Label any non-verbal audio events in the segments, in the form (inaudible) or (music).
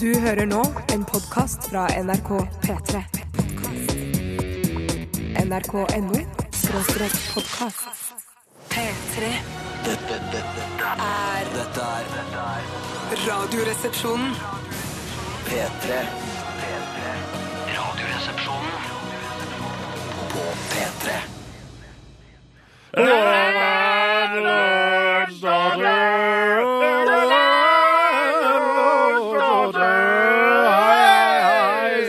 Du hører nå en podkast fra NRK P3. NRK.no skråstrek podkast. P3 Dette, dette, dette, er dette er dette er Radioresepsjonen. P3. P3. Radioresepsjonen på P3.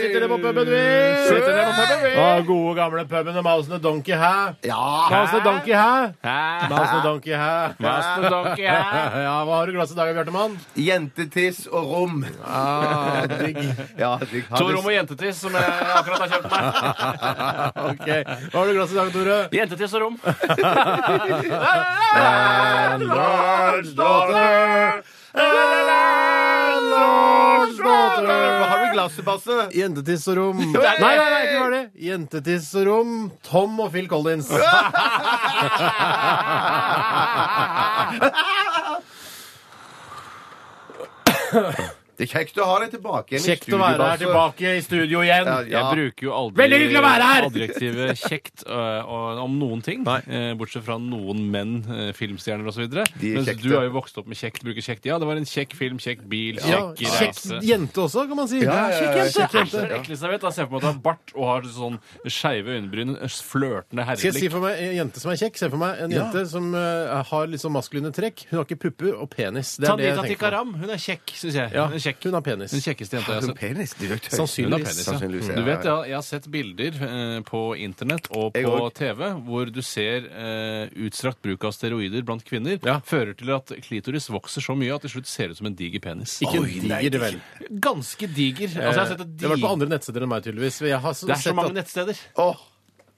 Sitter det på puben, vi? Sitter det på puben, vi? Å, gode gamle puben og Mouse and Donkey, hæ? Ja! Mouse and Donkey, hæ? Hæ? Mouse and Donkey, hæ? Mastodonke, hæ? (laughs) Ja, hva har du i glasset i dag, Bjartemann? Jentetiss og rom. Ah, digg. (laughs) Ja, de To rom og jentetiss, som jeg akkurat har kjøpt meg. (laughs) Ok. Hva har du i glasset i dag, Tore? Jentetiss (laughs) og rom. Hva har du i glasset, Basse? Jentetiss og rom. Nei, nei, nei, ikke var det. Jentetiss og rom, Tom og Phil (laughs) Collins. Det er kjekt å ha deg tilbake igjen i Kjekt studio, å være Basse. her tilbake i studio igjen. Ja, ja. Jeg bruker jo aldri Veldig hyggelig å være her! adjektivet kjekt øh, og- om noen ting, eh, bortsett fra noen menn, eh, filmstjerner osv. De er Mens kjekte. du har jo vokst opp med kjekt, bruker kjekt. Ja, det var en kjekk film, kjekk bil, Ja, kjekk kjekk reise. jente også, kan man si. Ja, ja, ja, Kjekk kjekk Det er jente. det ekleste jeg vet. Jeg ser for meg at du har bart og har sånn skeive øyenbryn, flørtende Skal jeg si herreblikk. for meg en jente som er kjekk? Se for meg en jente som eh, har litt sånn maskuline trekk. Hun har ikke pupper og penis. Det er det Tandita jeg tenker på. Tikaram, hun er kjekk, syns jeg. Ja, Hun er kjekk. hun har penis. Den kjekkeste jenta jeg har Har du sett. penis? Det er jo tøys. Hun har Sannsynligvis. penis, Sannsynligvis, ja. ja, Du vet, ja, jeg, jeg har sett bilder eh, på internett og Jeg på også. TV hvor du ser eh, utstrakt bruk av steroider blant kvinner Ja. fører til at klitoris vokser så mye at til slutt ser ut som en diger penis. Ikke en diger, vel. Ganske diger. Altså, jeg har sett et Eh, Det har vært på dig- andre nettsteder enn meg, tydeligvis. Jeg har Det er så sett mange at- nettsteder. Åh,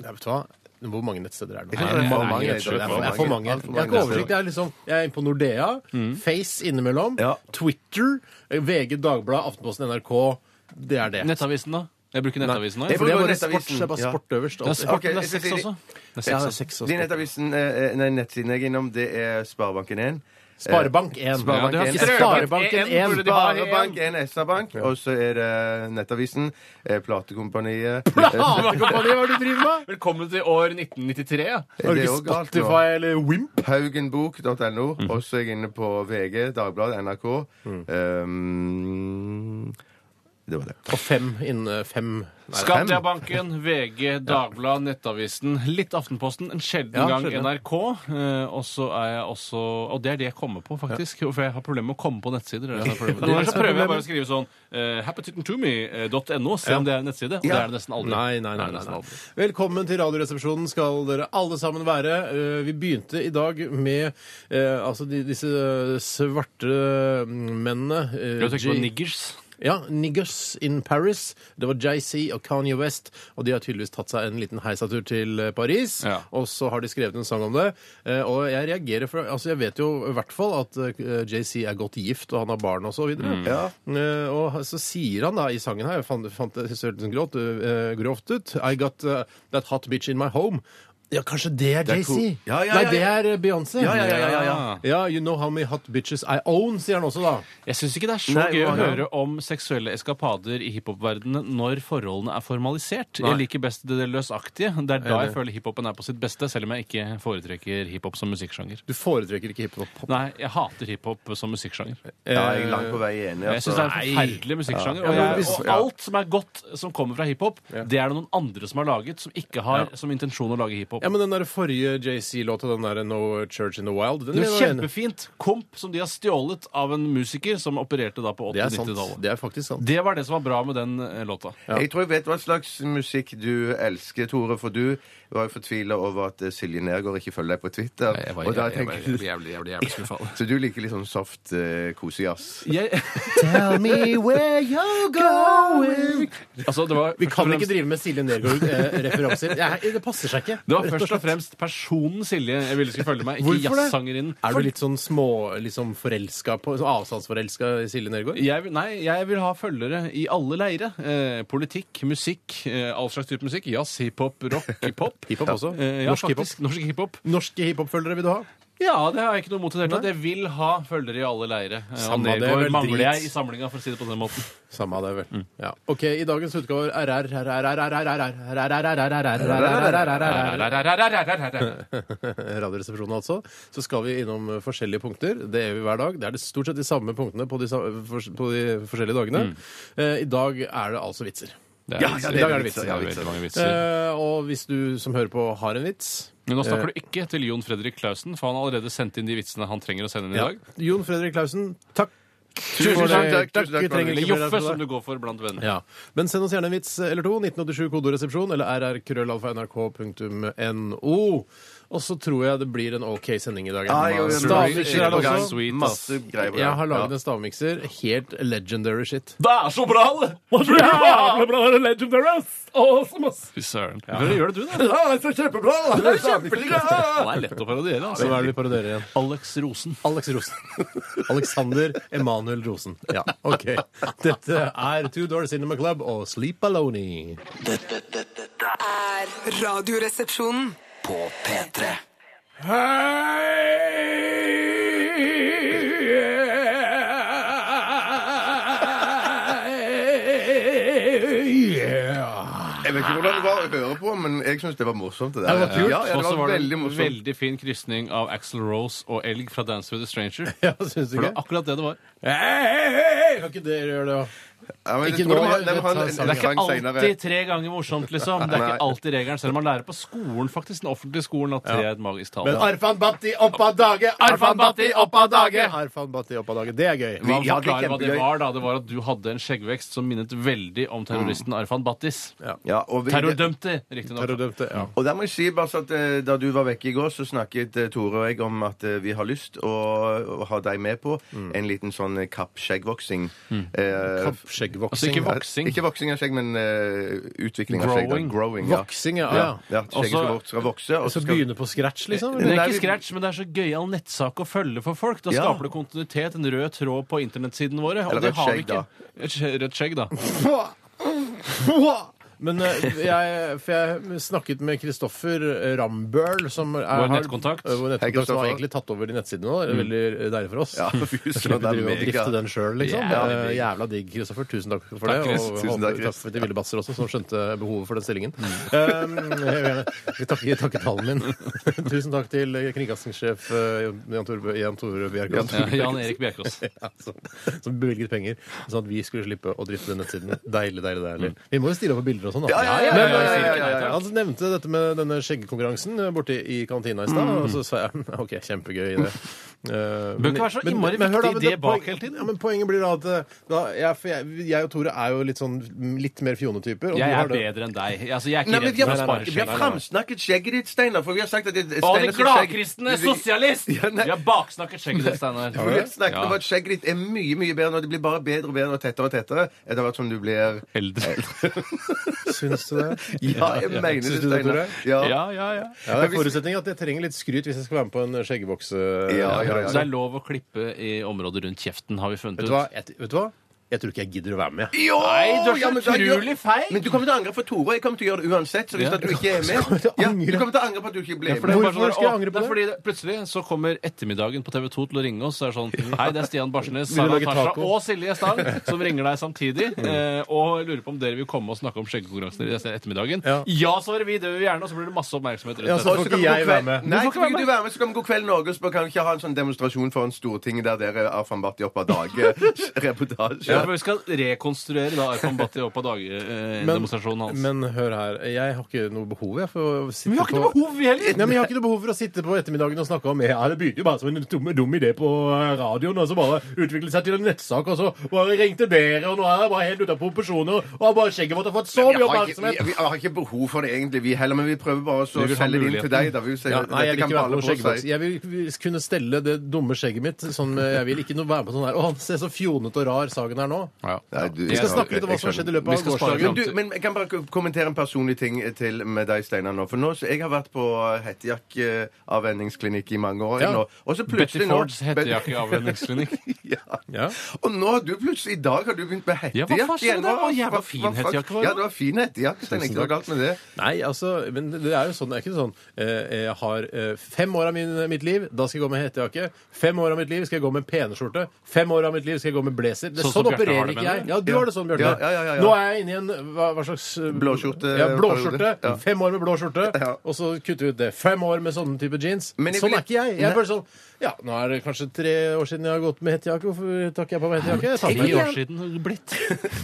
Ja, vet du hva? Hvor mange nettsteder er det nå? det er Nei, for nei, mange. jeg Det tror er for- det er for mange. Alt for Jeg har ikke nettsteder. oversikt. Jeg er, liksom, jeg er inne på Nordea, Face innimellom, Ja. Twitter, eh, VG, Dagbladet, Aftenposten, NRK. Det er det. Nettavisen, da? Jeg bruker Nettavisen nå. Jeg jeg. For det er bare Nettavisen. sport, så det er bare Ja. sport øverst. Det er altså. sport, Ok, men det er jeg skal sex si- også. Det er Ja, det er sex også. sex og De sport. nettavisen, eh, nei, nettsiden jeg er innom, det er Sparebanken1. Sparebank 1. Ja, du har Sparebank strøket en. Sparebank en. en, burde de ha en. Sparebank1 SR-bank, og så er det Nettavisen, eh, Platekompaniet (laughs) Platekompaniet, hva er det du driver med? Velkommen til år 1993. ja. Eh, Har du Det er ikke også galt nå. Spotify eller Wimp? Haugenbok.no. Og så er jeg inne på VG, Dagbladet, NRK. Um, det var det. Og fem innen eh, fem. Nei, Skandiabanken, (laughs) VG, Dagbladet, Nettavisen, litt Aftenposten, en sjelden Ja, gang sjelden. NRK. eh, Og så er jeg også Og det er det jeg kommer på, faktisk. For jeg har problemer med å komme på nettsider. det er det jeg har problemer med. Noen ganger så prøver jeg bare å skrive sånn eh, uh, happetytontomy.no, se om det er en nettside. Og det er det nesten aldri. Nei, nei, nei, Det er nei, nesten nei. aldri. Velkommen til Radioresepsjonen skal dere alle sammen være. Eh, Vi begynte i dag med eh, altså de, disse svarte mennene. eh, Jeg tenker på G- niggers. ja, Niggers in Paris. Det var JC og Kanye West. Og de har tydeligvis tatt seg en liten heisatur til eh, Paris. Ja. Og så har de skrevet en sang om det. Eh, Og jeg reagerer for Altså, jeg vet jo i hvert fall at eh, JC er godt gift, og han har barn og så videre. Mm. Ja. Eh, og så sier han da i sangen her, jeg fant, fant det hørtes grovt, eh, grovt ut I got eh, that hot bitch in my home. Ja, kanskje det er er JC? ko- Ja, ja, Nei, ja, det ja. er eh, Beyoncé. Ja, ja, ja, ja, ja. Ja, You know how many hot bitches I own, sier han også, da. Ah. Jeg syns ikke det er så Nei, gøy å hva da? høre om seksuelle eskapader i hiphop-verdenen når forholdene er formalisert. Jeg liker best det løsaktige. Det er da jeg føler hiphopen er på sitt beste, selv om jeg ikke foretrekker hiphop som musikksjanger. Du foretrekker ikke hiphop? Nei, jeg hater hiphop som musikksjanger. Eh, ja, jeg er langt på vei enig. altså. Jeg syns det er en forferdelig musikksjanger. Og, Ja, men jeg, hvis- og alt som er godt som kommer fra hiphop, det er det noen andre som har laget, som ikke har som intensjon å lage hiphop. Ja, men den der forrige JC-låta, den der No Church in the Wild den Det er var jo jeg enig i. kjempefint komp som de har stjålet av en musiker som opererte da på Det er sant. 80-90-tallet. Det er faktisk sant. Det var det som var bra med den eh, låta. Jeg tror jeg vet hva slags musikk du elsker, Tore, for du var jo fortvila over at eh, Silje Nergård ikke følger deg på Twitter. og da tenker du jævlig, jævlig, jævlig skuffa. (laughs) Så du liker litt sånn soft, uh, kosig jazz? Jeg, (laughs) Tell me where you're going altså, det var Vi kan ikke drive med Silje Nergård-referanser. det passer seg ikke. Det var først og fremst personen Silje jeg ville skulle følge meg, ikke Hvorfor det? jazzsangerinnen. Er du litt sånn små liksom forelska på sånn Avstandsforelska i Silje Nergård? Jeg vil, nei, jeg vil ha følgere i alle leire. Eh, politikk, musikk, eh, all slags type musikk. Jazz, hiphop, rock, pop. Hiphop også. Eh, ja, Norsk norsk faktisk. Norsk hiphop. Norske hiphop-følgere vil du ha? Ja, det har jeg ikke noe imot i det hele tatt. Jeg vil ha følgere i alle leire. Eh, Og Samme det, Nergård vel mangler drit. jeg i samlinga, for å si det på den måten. Samme av det, vel. Ja. OK, i dagens utgave er RR Radioresepsjonen, altså. Så skal vi innom eh, forskjellige punkter. Det gjør vi hver dag. Det er det stort sett de samme punktene på de, sa- fors- på de forskjellige dagene. Mm. Eh, I dag er det altså vitser. Det Ja, ja, vitser. det I dag er er det vitser, vitser. ja, Det er veldig mange vitser. Eh, og hvis du som hører på har en vits Men nå snakker du ikke til Jon Fredrik Klausen, for han har allerede sendt inn de vitsene han trenger å sende inn i ja. dag. Jon Fredrik Klausen, takk. Tusen for takk, det. takk, tusen takk Vi for det. trenger Eller ikke mer Joffe, fra deg. som du går for blant venner. Ja. Men send oss gjerne en vits eller to. 1987 kodoresepsjon eller rrkrøllalfa.nrk.no. Og så tror jeg det blir en OK sending i dag. Ja, jo, jo, jo. Stavmikser er det også. Sweet, ass. Masse greier på gang. Jeg har laget Ja. en stavmikser. Helt legendary shit. Det er så bra! det! Jævla bra, det er Legendary, ass! Awesome, ass! Fy søren. Hvordan gjør det du, da? Ja, det er kjempebra! Det er kjempebra! Han er lett å parodiere, Så hva altså. er det vi parodierer igjen? Alex Rosen. Alex Rosen. Alexander Emanuel Rosen. Ja, OK. Dette er Two Door Cinema Club og Sleep Alone. Dette, dette, dette er Er Radioresepsjonen. på P3. Jeg vet ikke hvordan det var å høre på, men jeg syns det var morsomt. Det der. det var kult. Ja, ja, Og det så var var det veldig en morsomt. veldig fin krysning av Axl Rose og Elg fra Dance with a Stranger. Ja, syns du For det ikke? var akkurat det det var. Kan ikke dere gjøre det òg? Ja, men jeg Ikke tror nå, de har- jeg de vet har en- hva en sangen Det er ikke sang senere. alltid tre ganger morsomt, liksom. Det er Nei. ikke alltid regelen, selv om man lærer på skolen, faktisk, den offentlige skolen, at tre er et magisk tall. Men Arfan Bhatti opp av dage! Arfan Bhatti opp av dage! Arfan Bhatti opp av dage. Det er gøy. Hva, Vi- ja, hva, det er det, hva det kjempegøy. var, da? Det var at du hadde en skjeggvekst som minnet veldig om terroristen Arfan Battis. Mm. Ja, og vi- Terrordømte, riktignok. Terrordømte, ja. Og der må jeg si bare så at eh, Da du var vekke i går, så snakket eh, Tore og jeg om at eh, vi har lyst å, å ha deg med på en liten sånn eh, kapp-skjeggvoksing. Eh, Kapp, Altså Skjeggvoksing. ikke voksing. ikke voksing av skjegg, men eh, utvikling av skjegg. da. Growing. Growing. Ja. Voksing, ja. Ja, ja. ja Skjegget skal, Også- vok- skal vokse. Og så Så skal, begynne på scratch, liksom? Det eller? er Nei, vi- ikke scratch, men det er så gøyal nettsak å følge for folk. Da Ja. skaper det kontinuitet, en rød tråd på internettsidene våre. Og Eller det rødt har vi skjegg, ikke. Et skje- Rødt skjegg, (laughs) da. (laughs) Men eh, jeg, for jeg snakket med Kristoffer Rambøll, som er, har- Vår nettkontakt. eh, Vår Hei, nettkontakt som Kristoffer. har egentlig tatt over de nettsidene nå. Det er Veldig deilig for oss. (laughs) Ja, (laughs) fy søren, Slipper det er drive og mega. drifte den sjøl, liksom. Jævlig Eh, digg. Jævla digg, Kristoffer. Tusen takk for det. Takk, Chris. Og Tusen håper- takk, Chris. Mm. takk til Ville Basser også, som skjønte behovet for den stillingen. Um, jeg vil gjerne takke, takke (laughs) talen min. Tusen takk til kringkastingssjef eh, Jan Tore, Jan Tore Bjerkås. Ja, Jan Erik (laughs) Bjerkås. Ja, som, som bevilget penger, sånn at vi skulle slippe å drifte den nettsiden. Deilig, deilig, deilig. Mm. Vi må jo stille opp med bilder og sånn, da. Ja, ja, ja, Men, ja, ja, ja, ja, eh, Han nevnte dette med denne skjeggekonkurransen eh, borte i kantina i stad, og så sa jeg (laughs) OK, kjempegøy idé. Uh, Mm. Bør ikke være så innmari viktig idé bak hele tiden. Ja, men poenget blir da at eh, da, jeg, for jeg, jeg og Tore er jo litt sånn litt mer fjonetyper. og du Jeg har er det- bedre enn deg. Altså, jeg er Nei, ikke men redd vi for har, å spare vi har skjegg. framsnakket skjegget ditt, Steinar. For vi har sagt at det, Å, Steinar det sitt skjegg- gladkristne sosialist! Ja, nei. Vi har baksnakket skjegget ditt, Steinar. For vi har snakket Ja. om at skjegget ditt er mye mye bedre, og det blir bare bedre og bedre og tettere og tettere etter hvert som du blir Eldre. Syns du det? (laughs) Ja, jeg mener det, Syns du det, Steinar. Tore? Ja. Ja, ja, ja. Ja, det er forutsetning at jeg trenger litt skryt hvis jeg skal være med på en skjeggevokse. Ja, ja, ja. Så det er lov å klippe i området rundt kjeften, har vi funnet Vet ut. du hva? Jeg, vet du hva? jeg tror ikke jeg gidder å være med. Jo, Nei, du er ja, så men da gjør- utrolig feil! Men du kommer til å angre for Tore, og jeg kommer til å gjøre det uansett. Så hvis Ja. at du ikke (laughs) er med kommer til å ja, angre. Du kommer til å angre på at du ikke ble for med. det- Bare Hvorfor sånn, skal jeg «Å, angre på nei, det?» Fordi plutselig så kommer ettermiddagen på TV 2 til å ringe oss. Så er det sånn Hei, det er Stian Barsnes, Vil du Sara lage Tasha taco?» Mm. og Silje Stang som ringer deg samtidig. Eh, og lurer på om dere vil komme og snakke om skjeggekonkurransen i resten av ettermiddagen. Ja, Ja. svarer vi. Det vil vi gjerne. Og så blir det masse oppmerksomhet rundt Ja, så- dette. Og kan får ikke vi gå jeg kveld- være med. Nei, så kan ikke du være med, så kan vi God kveld Norge og spørre kan vi ikke ha en sånn demonstrasjon foran Stortinget der dere er Arfan Bhatti opp av (laughs) dage. Reportasje. Ja, for vi skal rekonstruere da Arfan Bhatti opp av dage-demonstrasjonen hans. Men hør her, jeg har ikke noe behov jeg, for å sitte Men vi har ikke noe på behov, vi heller! Nei, men Jeg har ikke noe behov for å sitte på ettermiddagen og snakke om ja, Det begynte jo bare som en dum, dum idé på eh, radioen, og så bare utviklet seg til en nettsak, og så bare ringte dere, og nå er jeg bare helt ute av proporsjoner, og har bare skjegget vårt har fått så Vi mye har, ikke, vi, oppmerksomhet! vi har ikke behov for det egentlig, vi heller, men vi prøver bare så Vi å vil ha selge det inn til deg. Da. Vi vil si, Ja, nei, jeg dette kan vil ikke være balle med på på skjeggvoks. seg. Jeg vil kunne stelle det dumme skjegget mitt sånn eh, Jeg vil ikke noe være med på sånn her Å, han ser så fjonete og rar Sagen her nå. Ja. Nei, du- Vi skal jeg- snakke litt om hva jeg som har skjønner. skjedd i Vi løpet av skal spare gårsdagen. Men, fram- du, men jeg kan bare ko- kommentere en personlig ting til med deg, Steinar. nå. For nå, så Jeg har vært på hettejakkeavvenningsklinikk i mange år. Ja. Nå, og så Betty plutselig nå Fords (laughs) hettejakkeavvenningsklinikk. (laughs) ja. Ja. Og nå har du plutselig, i dag har du begynt med Ja, hettejakke hva faen skjer igjen. med det? Hva- Å, jævla hva- fin hva faen- hettejakke var det. Ja, det var fin hettejakke. Steinar, ikke noe galt med det. Nei, altså, men det er jo sånn, det er ikke sånn eh, Jeg har eh, fem år av min, mitt liv, da skal jeg gå med hettejakke. Fem år av mitt liv skal jeg gå med peneskjorte. Fem år av mitt liv skal jeg gå med blazer. Det, Sånn sånn som Bjarte har opererer det, ikke mener jeg. du? Ja, du har det sånn, Bjarte. Ja, ja, ja, ja, ja. Nå er jeg inne i en hva, hva slags eh, Blåskjorte- Ja, blåskjorte. periode. Ja. Fem år med blåskjorte, Ja. og så kutter vi ut det. Fem år med sånne type jeans. Men jeg Sånn vil- er ikke jeg. Jeg Nei. er bare sånn Ja, nå er det kanskje tre år siden jeg har gått med hettejakke. Hvorfor tar ikke jeg på meg hettejakke? Jeg tar på Ti meg år siden har det blitt.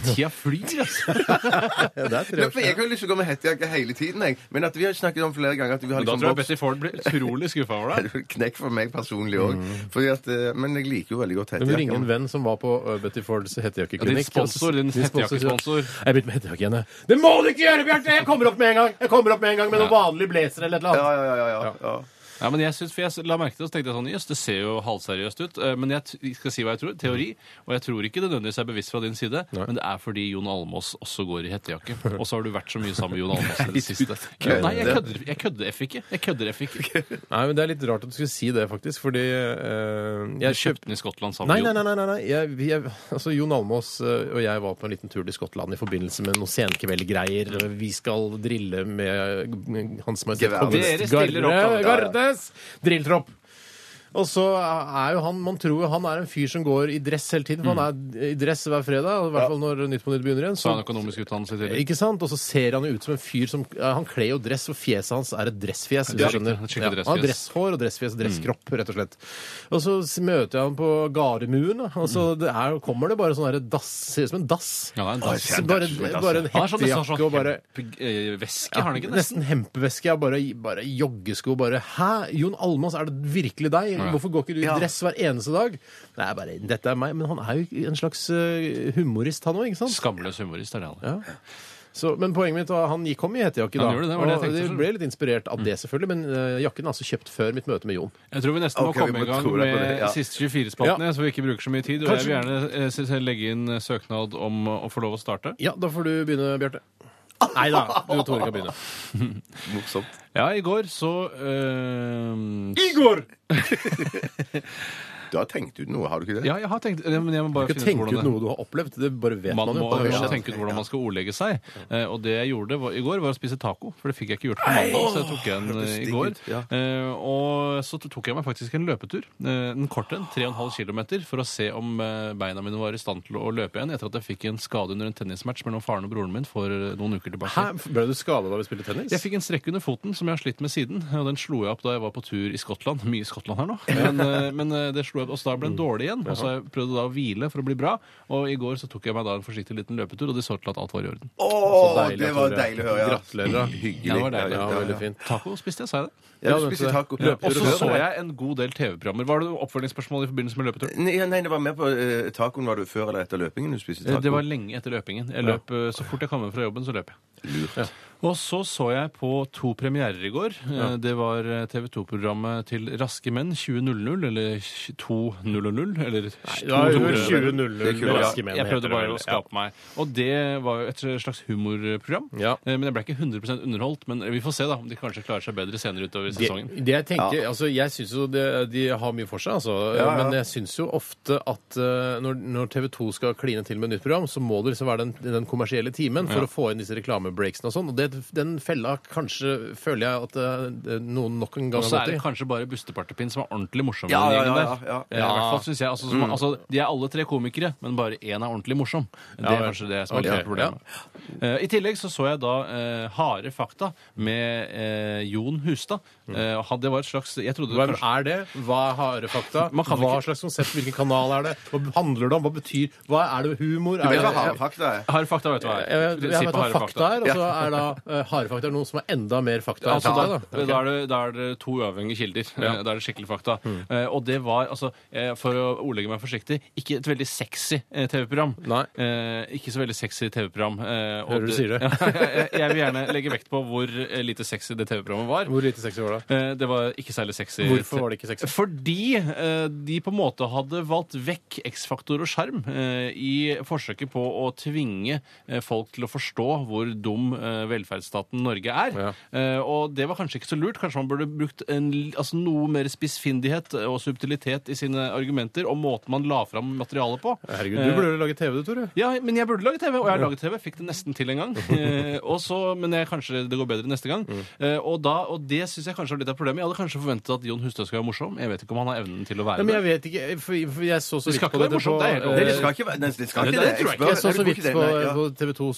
Tida flyr, altså. Ja, det er (laughs) Nei, tre år for jeg siden. har jo lyst til å gå med hettejakke hele tiden, jeg. Men at vi har snakket om flere ganger at vi har Men da liksom tror jeg vokst- Betty Ford blir utrolig skuffa over deg. (laughs) Det er jo knekk for meg personlig òg. eh, Men jeg liker jo veldig godt Du må ringe en hettejakke. venn som var på uh, Betty Fords Ja, din hettejakkeklinikk. sponsor, din hettejakkesponsor. sponsor. Jeg er blitt med hettejakke igjen, jeg. Det må du ikke gjøre, Bjarte! Jeg kommer opp med en gang Jeg kommer opp med en gang med noen vanlig blazer eller et eller Ja, annet. ja, ja, ja, ja. ja. Ja, men jeg, synes, for jeg la merke til det, så tenkte jeg sånn, jøss, det ser jo halvseriøst ut. eh, Men jeg t- skal si hva jeg tror. Teori. Og jeg tror ikke det nødvendigvis er bevisst fra din side, men det er fordi Jon Almås også går i (laughs) hettejakke. Og så har du vært så mye sammen med Jon Almås i det siste. Jo, Nei, jeg kødder, jeg kødder F ikke. Jeg kødder (laughs) F ikke. Nei, men Det er litt rart at du skulle si det, faktisk, fordi eh, Du jeg kjøpte den i Skottland sammen Nei, med nei, Jon. nei. nei, nei, nei. Jeg, vi- jeg, altså, Jon Almås eh, og jeg var på en liten tur til Skottland i forbindelse med noen senkveldgreier. Vi skal drille med eh, Hans Majestet Gevær. Kongen. Dere stiller opp, da. Garde- Gardes drilltropp. Og så er jo han Man tror jo han er en fyr som går i dress hele tiden. For han er i dress hver fredag, i hvert fall når Nytt på Nytt begynner igjen. Mm. Så Så, har han økonomisk utdannelse i tillegg. Eh, ikke sant? Og så ser han jo ut som en fyr som eh, Han kler jo dress, og fjeset hans er et dressfjes. hvis Ja, du skjønner. riktig. Et Ja, skikkelig han har dressfjes. Mm. dresshår og dressfjes og dresskropp, rett og slett. Og så s- møter jeg han på Gardermuen, da. og så det er, kommer det bare sånn herre dass Ser ut som en dass. Mm. Ja, det er en dass. Så Bare, bare en Han er sånn nesten hettejakke og bare sånn eh, Veske, har han ikke? Nesten. Nesten hempeveske. Ja, bare, bare joggesko. Bare Hæ, Jon Almaas, er det virkelig deg? Hvorfor går ikke du i Ja. dress hver eneste dag? Nei, bare, dette er meg. Men han er jo en slags eh, humorist, han òg, ikke sant? Skamløs humorist er det han er. Så, men poenget mitt var han gikk kom i hettejakke da. Han gjorde det, det var det jeg og tenkte det selv. ble litt inspirert av det, selvfølgelig. Men eh, jakken er altså kjøpt før mitt møte med Jon. Jeg tror vi nesten Ok, må vi komme må i gang tro deg på med det, ja. siste 24-spalten, Ja. jeg, så vi ikke bruker så mye tid. Og jeg vil gjerne eh, s- s- legge inn eh, søknad om eh, å få lov å starte. Ja, da får du begynne, Bjarte. Nei da, du torde ikke å begynne. Morsomt. Ja, i går så eh, Igor! Da tenkte du noe, har du ikke det? Ja, jeg har tenkt ja, Men jeg må bare Ikke tenke finne ut ut hvordan det noe du har opplevd. Det bare vet man, man må jo. høre og Ja. tenke ut hvordan man skal ordlegge seg. Eh, Og det jeg gjorde var, i går, var å spise taco, for det fikk jeg ikke gjort på mandag. Så jeg tok en eh, i digg går. ut, ja. Eh, Og så tok jeg meg faktisk en løpetur, eh, en kort en, 3,5 km, for å se om eh, beina mine var i stand til å løpe igjen etter at jeg fikk en skade under en tennismatch mellom faren og broren min for eh, noen uker tilbake. Hæ? Ble du skada da vi spilte tennis? Jeg fikk en strekk under foten som jeg har slitt med siden. Og den slo jeg opp da jeg var på tur i Skottland. Mye Skottland her nå. Men, eh, men eh, det slo jeg opp, og så da ble den Mm. dårlig igjen. Og så har jeg prøvde da å hvile for å bli bra. Og i går så tok jeg meg da en forsiktig liten løpetur, og det så til at alt var i orden. Å, Så deilig det at var dere- deilig å høre. ja. Gratulerer, da. Hyggelig. Ja, det var deilig. Ja, veldig fint. Taco spiste jeg, sa jeg det. Ja, Ja, du men spiste så- taco. Ja, Og Løper du så før, så eller? jeg en god del TV-programmer. Var det noe oppfølgingsspørsmål i forbindelse med løpetur? Nei, ja, nei, det var med på eh, tacoen. Var du før eller etter løpingen du spiste taco? Eh, Det var lenge etter løpingen. Jeg løp, eh, Så fort jeg kom hjem fra jobben, så løp jeg. Ja. Og så så jeg på to premierer i går. Eh, Det var TV 2-programmet til Raske menn 20.00, eller 20.00, eller Ja, det var 20.00. 20-0 med raske menn, Jeg heter prøvde det bare vel. å skape meg. Og det var jo et slags humorprogram. Ja. Eh, Men jeg ble ikke 100 underholdt. Men vi får se da om de kanskje klarer seg bedre senere utover Det, sesongen. det jeg tenker, altså jeg syns jo det, de har mye for seg, altså. Ja, ja. Men jeg syns jo ofte at eh, når, når TV 2 skal kline til med nytt program, så må det liksom være den, den kommersielle timen for å få inn disse reklamebreaksene og sånn. Og det, den fella kanskje føler jeg at eh, noen nok en Og gang så har er det gått i. kanskje bare Bustepartepinn som er ordentlig morsom. i Ja, den ja, gjengen ja, der. ja, Eh, I hvert fall synes jeg, altså, som, altså, De er alle tre komikere, men bare én er ordentlig morsom. Det er vel. kanskje det som er Ok, litt av problemet. Eh, I tillegg så så jeg da eh, Harde fakta med eh, Jon Hustad. Eh, og han- det var et slags Jeg trodde Hvem kanskje er det? Hva er harde fakta? Man kan Hva ikke- slags konsept? Hvilken kanal er det? Hva handler det om? Hva betyr Hva er det humor? Det var Er det harde fakta. jeg. Harde fakta, vet du hva jeg, jeg, jeg vet hva fakta er, og så er da eh, harefakta er noe som er enda mer fakta. Ja, altså, enn da, fakta, da. da, er det, da er det to uavhengige kilder. Eh, (laughs) Da er det skikkelig fakta. Eh, og det var, altså, eh, for å ordlegge meg forsiktig, ikke et veldig sexy eh, TV-program. Nei. Eh, ikke så veldig sexy TV-program. Eh, og Hører du sier det. (laughs) Ja, jeg, jeg vil gjerne legge vekt på hvor eh, lite sexy det TV-programmet var. Hvor lite sexy var det? Eh, Det var ikke særlig sexy. Hvorfor var det ikke sexy? Fordi eh, de på en måte hadde valgt vekk X-faktor og sjarm eh, i forsøket på å tvinge eh, folk til å forstå hvor dum eh, velferdsstaten Norge er. Eh, og det var kanskje ikke så lurt. Kanskje man burde brukt en, l- altså, noe mer spissfindighet og subtilitet i sine argumenter og måten man la fram materialet på. Herregud, du burde jo lage TV, du, Tore. Ja, men jeg burde lage TV, og jeg har laget TV. Fikk det nesten til en (laughs) gang. Eh, og så, men jeg, kanskje det går bedre neste gang. Eh, og, da, og det syns jeg kanskje var litt av problemet. Jeg hadde kanskje forventet at Jon Hustad skulle være morsom. Jeg vet ikke om han har evnen til å være Nei, men jeg vet ikke, for, for jeg så så Det skal vidt på ikke være dette på morsomt, det er helt eh, Nei, det skal ikke være Nei, det. skal Nei, ikke det det. tror jeg ikke. Jeg så spør- så vidt det på, går ikke det, nei, på TV2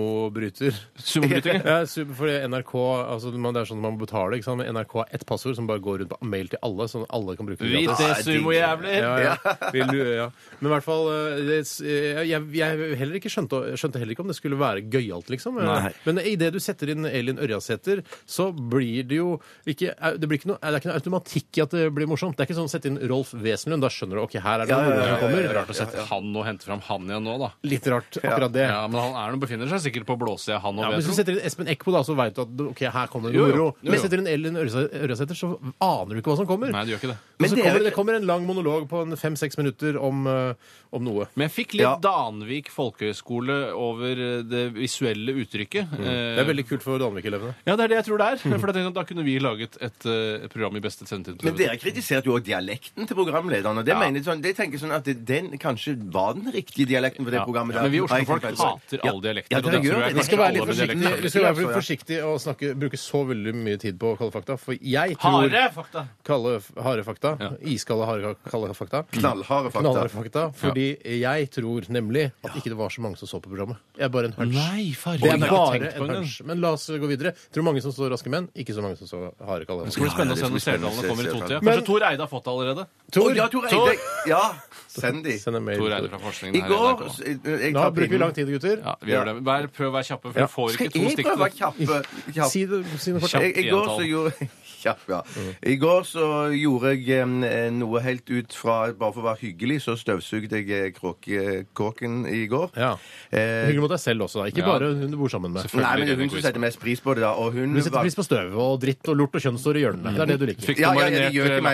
Sumobryter. (laughs) Sumobrytingen. Ja, super, fordi NRK altså, man, Det er sånn man betaler. Ikke sant? Men NRK har ett passord som bare går rundt på mail til alle, sånn at alle kan bruke det. Vit gratis. det, det er digg. sumojævler! Ja, ja. Vil du, ja. Men i hvert fall eh, det, eh, jeg, jeg heller ikke skjønte, skjønte heller ikke om det skulle være gøyalt, liksom. Nei. Men idet du setter inn Elin Ørjasæter, så blir det jo ikke eh, Det, blir ikke noe, det er ikke noe automatikk i at det blir morsomt. Det er ikke sånn å sette inn Rolf Wesenlund. Da skjønner du ok, her er det noe som Det kommer. er Rart å sette han og hente fram han igjen nå, da. Litt rart, akkurat det. Ja, Men han er nå befinner seg sikkert på blåsida, han Ja, og men Hvis du Vetro. setter inn Espen Eckbo, da, så veit du at ok, her kommer det Jo, noe jo. moro. Jo, jo. Men hvis du setter inn Ellen Ørjasæ- Ørjasæter, så aner du ikke hva som kommer. Nei, det gjør ikke det. Og Men så dere- kommer det, det kommer en lang monolog på en fem-seks minutter om, eh, om noe. Men jeg fikk litt Ja. Danvik folkehøgskole over eh, det visuelle uttrykket. Eh, Det er veldig kult for Danvik-elevene. Ja, det er det jeg tror det er. For jeg tenkte at da kunne vi laget et eh, program i beste sendetid. på Men TV2. dere kritiserte jo også dialekten til programlederen. Og det mener jeg sånn, det tenker jeg sånn at den kanskje var den riktige dialekten for det Ja. programmet. Ja, der. men vi Har jeg Oslo-folk tenkt på det. hater alle dialekter, Ja, og det det gjør tror jeg det. Vi Vi kanskje skal skal være alle litt med forsiktige, dialekter. vi skal være litt forsiktige og snakke, bruke så veldig mye tid på kalde fakta. For jeg tror Harde fakta! kalde f- harde fakta. Ja. Iskalde harde kalde fakta. Knallharde fakta. Knallharde fakta. Fordi jeg tror nemlig at ikke det var så mange som så på programmet. Jeg er bare en hunch. Nei, farlig. Det er Mm. Oi, jeg har bare tenkt på en den. hunch. Men la oss gå videre. Jeg tror mange som så Raske menn, ikke så mange som så harde kalde Det skal bli fakta. spennende å det skal se når bli spennende seertallene kommer å i se totida. Men- Kanskje Tor Eide har fått det allerede? Å, ja, Tor Eide. Ja, send de. Send en mail. Tor Tor. Eide fra forskningen I her i går NRK. s- eh, jeg Da tar bruker vi pinnen. lang tid, gutter. Ja, vi gjør det. Vær, prøv å være kjappe, for Ja. du får Skal ikke to jeg stikk. prøve å være kjapp? eh, kjapp? Si det si noe Kjapt. kort. Jeg, I går så gjorde (laughs) Kjapp, ja. I går så gjorde jeg eh, noe helt ut fra Bare for å være hyggelig, så støvsugde jeg eh, kråke- kråken i går. Ja. Eh, Hyggelig mot deg selv også, da. Ikke Ja. bare hun du bor sammen med. nei, men det er hun som setter mest pris på det, da. Og hun Du setter pris på støv og dritt og lort og kjønnshår i hjørnene. Det er det du liker. Fikk du marinert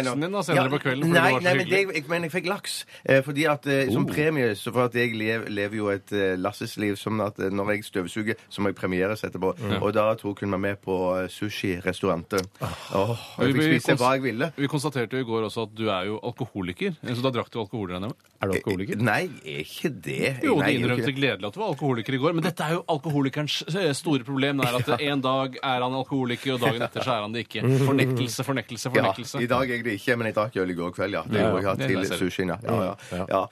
laksen din da senere på kvelden? Nei, nei fordi det var men så det, hyggelig? Oh. jeg, men jeg fikk laks. Eh, fordi at eh, Som premie så for at jeg lev, lever jo et eh, Lasses-liv som at eh, når jeg støvsuger, så må jeg premieres etterpå. Og da tok hun meg med på eh, sushi-restauranter. Åh, og jeg Ah. Vi- fikk vi spise kons- hva jeg ville. Vi konstaterte jo i går også at du er jo alkoholiker, så da drakk du alkohol, regner jeg med? Er du alkoholiker? Nei, jeg er ikke det. Nei, jeg Jo, du er innrømte ikke det. gledelig at du var alkoholiker i går, men dette er jo alkoholikerens eh, store problem. Det (laughs) er at en dag er han alkoholiker, og dagen etter så er han det ikke. Fornektelse, fornektelse, Ja, fornektelse. I dag er jeg det ikke, men jeg drakk øl i går kveld, ja. Det gjorde jeg ja, det til ser du. sushien. Ja. Ja, ja, ja.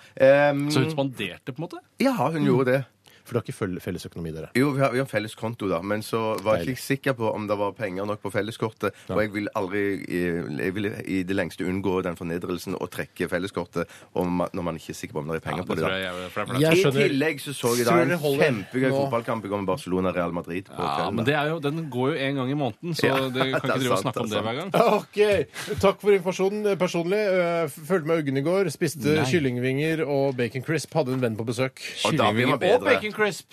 Ehm, Så hun spanderte, på en måte? ja, hun gjorde det. For du har ikke føl- felles økonomi, dere. Jo, vi har, vi har en felles konto, da, men så var jeg Deilig. ikke sikker på om det var penger nok på felleskortet. Og jeg vil aldri i- jeg vil i det lengste unngå den fornedrelsen å trekke felleskortet om, man- når man ikke er sikker på om det er penger Ja, på det det. tror da. jeg er for det er flaut. Jeg I skjønner- tillegg så så jeg da Tror en dere holder kjempegøy nå? fotballkamp mellom Barcelona og Real Madrid på Ja, kvelden. men da. det er jo, den går jo en gang i måneden, så Ja, (laughs) det kan det ikke er drive og sant, snakke om det det er hver gang. Ah, Ok, Takk for informasjonen eh, personlig. eh, f- Følte meg uggen i går. Spiste Nei. kyllingvinger og bacon crisp. Hadde en venn på besøk. Og da blir man Kyllingvinger og bedre. bacon crisp!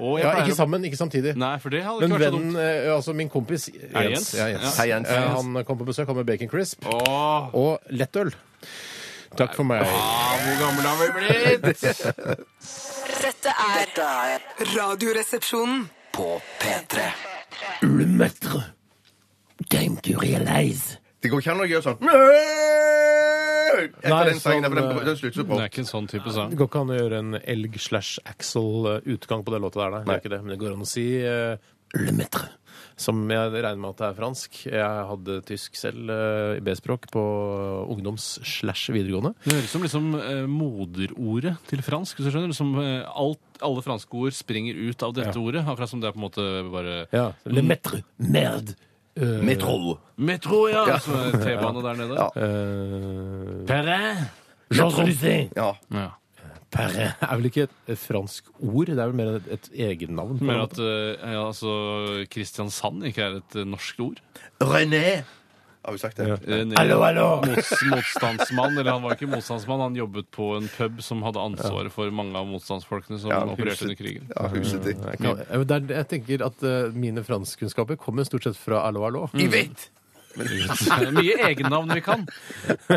Og jeg Ja, pleier ikke å- sammen, ikke samtidig. Nei, for det hadde Men ikke vært så vennen, dumt. eh, altså min kompis Jens, Hei, Jens. Ja, Jens. Ja. Hei, Jens. Eh, han kom på besøk, han med bacon crisp Åh, og lettøl. Takk for meg. ah, hvor gammel har (laughs) vi blitt? Dette er Dette er Radioresepsjonen. på P3. Det går ikke an å gjøre sånn Etter Nei, den sangen, sånn, for den, eh, den slutter så Det brått. er ikke en sånn type sang. Det går ikke an å gjøre en elg slash Axel-utgang på den låta der, nei. Det er ikke det. Men det går an å si eh, Le Maître, som jeg regner med at det er fransk. Jeg hadde tysk selv eh, i B-språk på ungdoms slash videregående. Det høres som liksom eh, moderordet til fransk. hvis du skjønner. Som, eh, alt, alle franske ord springer ut av dette ordet. Akkurat som det er på en måte bare Ja. Le Maître. Merde. Eh, Metro. Metro, ja! Som er T-bane der nede. Ja. eh, Perrin! Jean Lucin. Ja. Ja. Perret (laughs) er vel ikke et, et fransk ord, det er vel mer et, et egennavn? på en Men måte. at eh, ja, altså, Kristiansand ikke er et eh, norsk ord. René! Har vi sagt det? Eh, ned- Hallo, hallo! Mots, motstandsmann, eller han var ikke motstandsmann, han jobbet på en pub som hadde ansvaret for mange av motstandsfolkene som Ja, huset. opererte under krigen. Ja, huset ditt. Mm. Jeg kan- Ja, men det er- Jeg tenker at eh, mine franskkunnskaper kommer stort sett fra allo, allo. Jeg vet! Det er Eh, mye egennavn vi kan.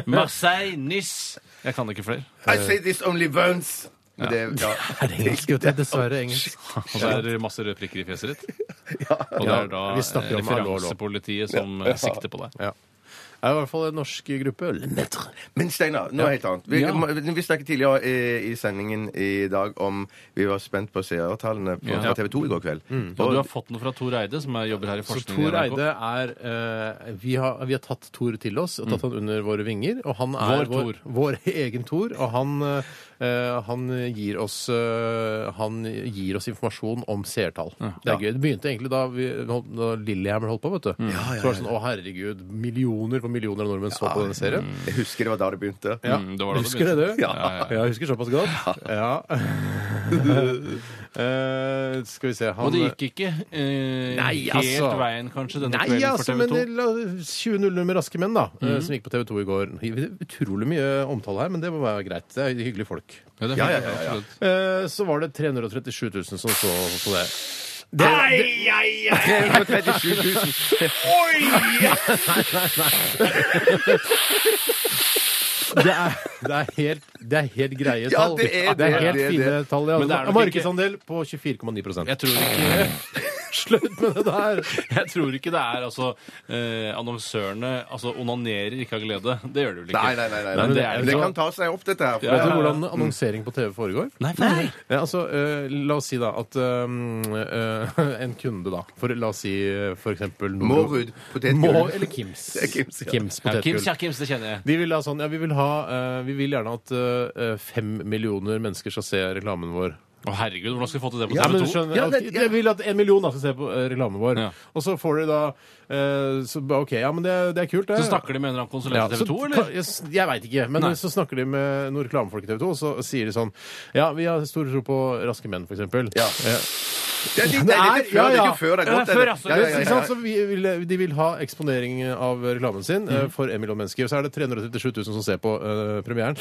Marseille, Nice Jeg kan ikke flere. I say this only once! Men Det, ja. (laughs) Er det engelsk? vet du? Dessverre engelsk. Og så er det masse røde prikker i fjeset ditt. Og det Ja, er da vi snakker eh, om hallo, hallo. referansepolitiet som eh, sikter på deg. Ja. Det er i hvert fall en norsk gruppe. Le Maître. Men Steinar, noe helt annet. Vi, Ja. må- vi snakket tidligere eh, i, i sendingen i dag om Vi var spent på seertallene på- Ja. fra TV 2 i går kveld. Og du Og, har fått noe fra Tor Eide, som er- jobber her i Så forskningen. i Tor NRK. Eide er eh, vi, har, vi har tatt Tor til oss og tatt han under våre vinger. Og han Vår er Thor. Mm. vår egen Tor. Og han, eh, han, gir oss, eh, han gir oss informasjon om seertall. Det er gøy. Det begynte egentlig da, vi, da Lillehammer holdt på, vet du. Så var det sånn å herregud, millioner på millioner av nordmenn så på denne serien. jeg husker det var da det begynte. Ja. Mm, det var da det husker det, begynte. du? Ja. jeg husker såpass godt. Ja. (laughs) Eh, skal vi se han, Og det gikk ikke eh, Nei, helt altså. veien, kanskje, denne Nei, kvelden altså, for men TV 2. det- la- 20.00 med Raske menn, da, eh, som gikk på TV 2 i går. Utrolig mye omtale her, men det må være greit. Det er hyggelige folk. Ja, det er Ja, ja, ja, fint, ja. absolutt. Eh, Så var det 337 000 som så, så det. Det, det, 337 000. det, er, det, er helt, det er helt greie Ja, tall. det er det er det, helt det er fine tall. Ja. Men det er nok ikke- Markedsandel på 24,9 Jeg tror ikke, (laughs) Slutt med det der! jeg tror ikke det er altså eh, Annonsørene altså onanerer ikke av glede. Det gjør de vel ikke? Nei, nei, nei. nei, Nei, men det, det er jo det så- kan ta seg opp, dette her. for Ja, det- Vet du hvordan annonsering på TV foregår? Nei, for det- Ja, altså, eh, La oss si da at eh, eh, en kunde, da for, La oss si eh, for eksempel Nordro- Mårud potetgull. Må, eller Kims. Det er Kims, ja. Ja, potetgull. Kims, ja, Kims, det kjenner jeg. De vil ha sånn, ja, vi vil, ha, eh, vi vil gjerne at eh, fem millioner mennesker skal se reklamen vår. Å herregud, hvordan skal vi få til det på Ja, men TV du 2? skjønner, Ja, det- at, Jeg vil at en million da skal se på eh, reklamen vår. Ja. Og så får de da eh, så, ba, OK, ja, men det, det er kult, det. Så snakker de med en eller annen konsulent i TV 2, så- eller? Jeg, jeg veit ikke, men Nei. så snakker de med noen reklamefolk i TV 2, og så sier de sånn Ja, vi har stor tro på Raske menn, for eksempel. Ja. Eh, Det er, det er ikke før, Ja, det er ja. ikke før det er Ja, godt. det er før, altså. Ja, ja, ja, ja. Ikke sant? Så vi vil, de vil ha eksponering av reklamen sin eh, for en million mennesker. Og så er det 337 000 som ser på eh, premieren.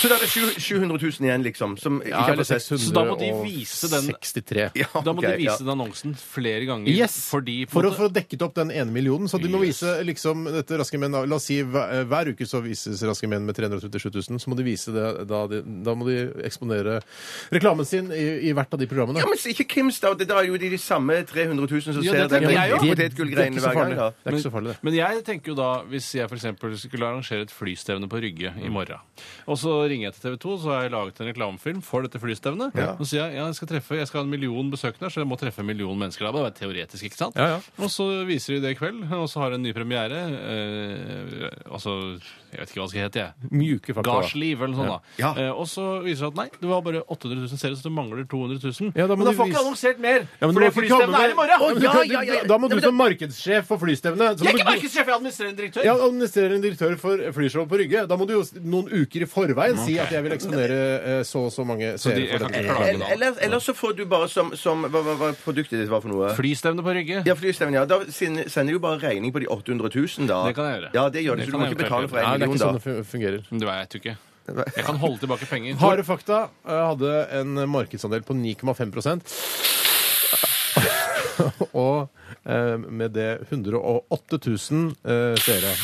Så da er det sju- 700 000 igjen, liksom, som ikke har fått sett. Så da må de vise den- 63. Ja, Da må de ok, vise ja. den annonsen flere ganger. Yes! Fordi, på for, en å, for å dekke opp den ene millionen. Så de må Yes. vise liksom dette Raske menn da. La oss si hver, eh, hver uke så vises Raske menn med 337 000. Så må de vise det da, de, da må de eksponere reklamen sin i, i hvert av de programmene. Ja, men så ikke Kims, da. Det da er jo de, de samme 300 000 som Ja, ser det tenker den jeg jo. potetgullgreiene så hver gang. farlig. da. Det er ikke så farlig, det. Men jeg tenker jo da, hvis jeg for eksempel skulle arrangere et flystevne på Rygge i morgen, og så ringer jeg til TV 2, så har jeg laget en reklamefilm for dette flystevnet, og sier jeg ja, jeg skal treffe, jeg skal ha en million besøkende, så jeg må treffe en million mennesker der. Det er teoretisk, ikke sant? Ja, ja. Og så viser de det i kveld, og så har de en ny premiere. Eh, altså, jeg vet ikke hva det skal hete, jeg. Mjuke fakta. da. Gardsliv eller noe sånt. da. Ja. Eh, og så viser det at nei, det var bare 800 000 seere, så det mangler 200 000. Ja, da må men da du får ikke vise- annonsert mer! Ja, men for du må det ikke komme flystevnet med- er i morgen! Ja, men du kan- ja, ja, ja. Da må Ja, du men som markedssjef for flystevnet så må Jeg er ikke du- markedssjef, jeg er administrerende direktør! Ja, administrerende direktør for Flyshow på Rygge. Da må du jo s- noen uker i forveien si at jeg vil eksponere eh, så og så mange seere de- jeg for kan ikke dette. klage. Eller, eller, eller så får du bare som, som hva, hva, hva produktet ditt var for noe? Flystevne på Rygge. Ja, flystemmen, ja. Da sender sender jo bare regning på de 800 000, da. Det kan jeg gjøre. Ja, det gjør det, Det så du kan må jeg ikke betale for eventuelt en Nei, det er million, ikke da. sånn det fun- fungerer. Men Det vet jo ikke. Jeg kan holde tilbake penger. Harde fakta eh, hadde en markedsandel på 9,5 (laughs) Og eh, med det 108 000 eh, seere.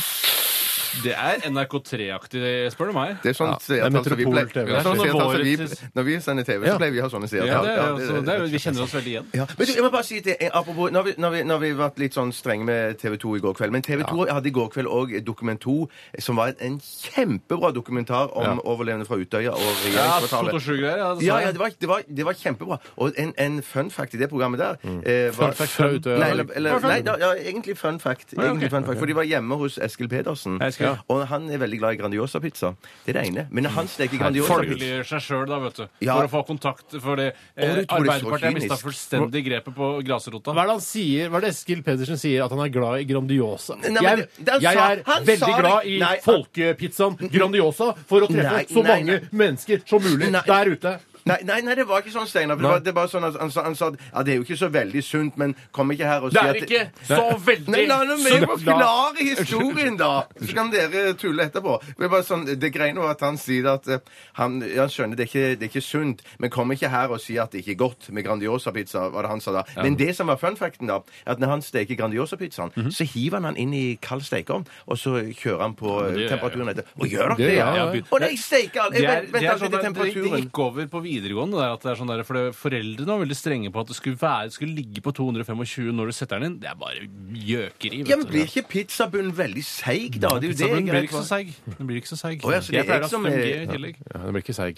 Det er NRK3-aktig, spør du meg. Det er sånn det er seertall som vi ble- Metropol TV. Det er sånn Det er sånn seertall som vi- våre- Når vi sender TV, Ja. så pleier vi å ha sånne Ja, seertall. det, er, Ja, altså, det er, jo- vi kjenner oss veldig igjen. Ja. Men du, jeg må bare si det, eh, apropos, når vi, når, vi, når vi vært litt sånn strenge med TV 2 i går kveld Men TV 2 hadde i går kveld òg Dokument 2, som var en kjempebra dokumentar om overlevende fra Utøya og Ja, to regjeringskvartalet. og sju greier. Ja, altså. Ja, altså. det sa ja jeg. det, var, det, var, det var kjempebra. Og en, en fun fact i det programmet der eh, var- Mm. Fun fact Ah, fra Utøya, Nei, eller- eller, eller, nei da, ja, egentlig fun fact. Egentlig fun fact For de var hjemme hos Eskil Pedersen. Jeg Ja. Og han er veldig glad i Grandiosa-pizza. Det er det ene. Men Mm. han steker Grandiosa-pizza. Folkeliggjør seg sjøl, da, vet du. Ja. For å få kontakt. For det, Å, eh, du tror det er så Arbeiderpartiet har mista kynisk. fullstendig grepet på grasrota. Hva er det han sier, hva er det Eskil Pedersen sier? At han er glad i Grandiosa? Nei, men jeg det- han jeg sa- er han veldig sa det- glad Nei, i han- folkepizzaen Grandiosa for å treffe Nei, så nei, mange nei. mennesker som mulig Nei. der ute. Nei, nei, nei, det var ikke sånn, Steinar. for Det, var- det var sånn at han sa, han sa at ja, det er jo ikke så veldig sunt, men kom ikke her og si Det at er ikke så veldig Nei, la nå meg sunt. forklare historien, da! Så kan dere tulle etterpå. Det, er bare sånn, det greiene var at han sier at eh, han, han skjønner det er, ikke, det er ikke sunt, men kommer ikke her og sier at det ikke er godt med Grandiosa-pizza, var det han sa da. Men det som var fun facten, da, er at når han steker Grandiosa-pizzaen, Mhm. så hiver han han inn i kald stekeovn, og så kjører han på det gjør jeg, temperaturen etter. Og gjør dere Det det, gjør ja? jeg, ja. Og nei, steker alt! Det, Jeg er, vent- det, vent er alltid sånn til der, det, det temperaturen. gikk over på videregående. Der, at det er sånn der, for det, Foreldrene var veldig strenge på at det skulle, være, det skulle ligge på 225 når du setter den inn. Det er bare gjøkeri. Ja, men Blir ikke pizzabunnen veldig seig, da? Det er jo det Den jeg blir er ikke redd så for. seig. Den blir ikke så seig. Å, ja, så det jeg er pleier å ikke ha som- 5G i tillegg. Ja, den blir ikke seig.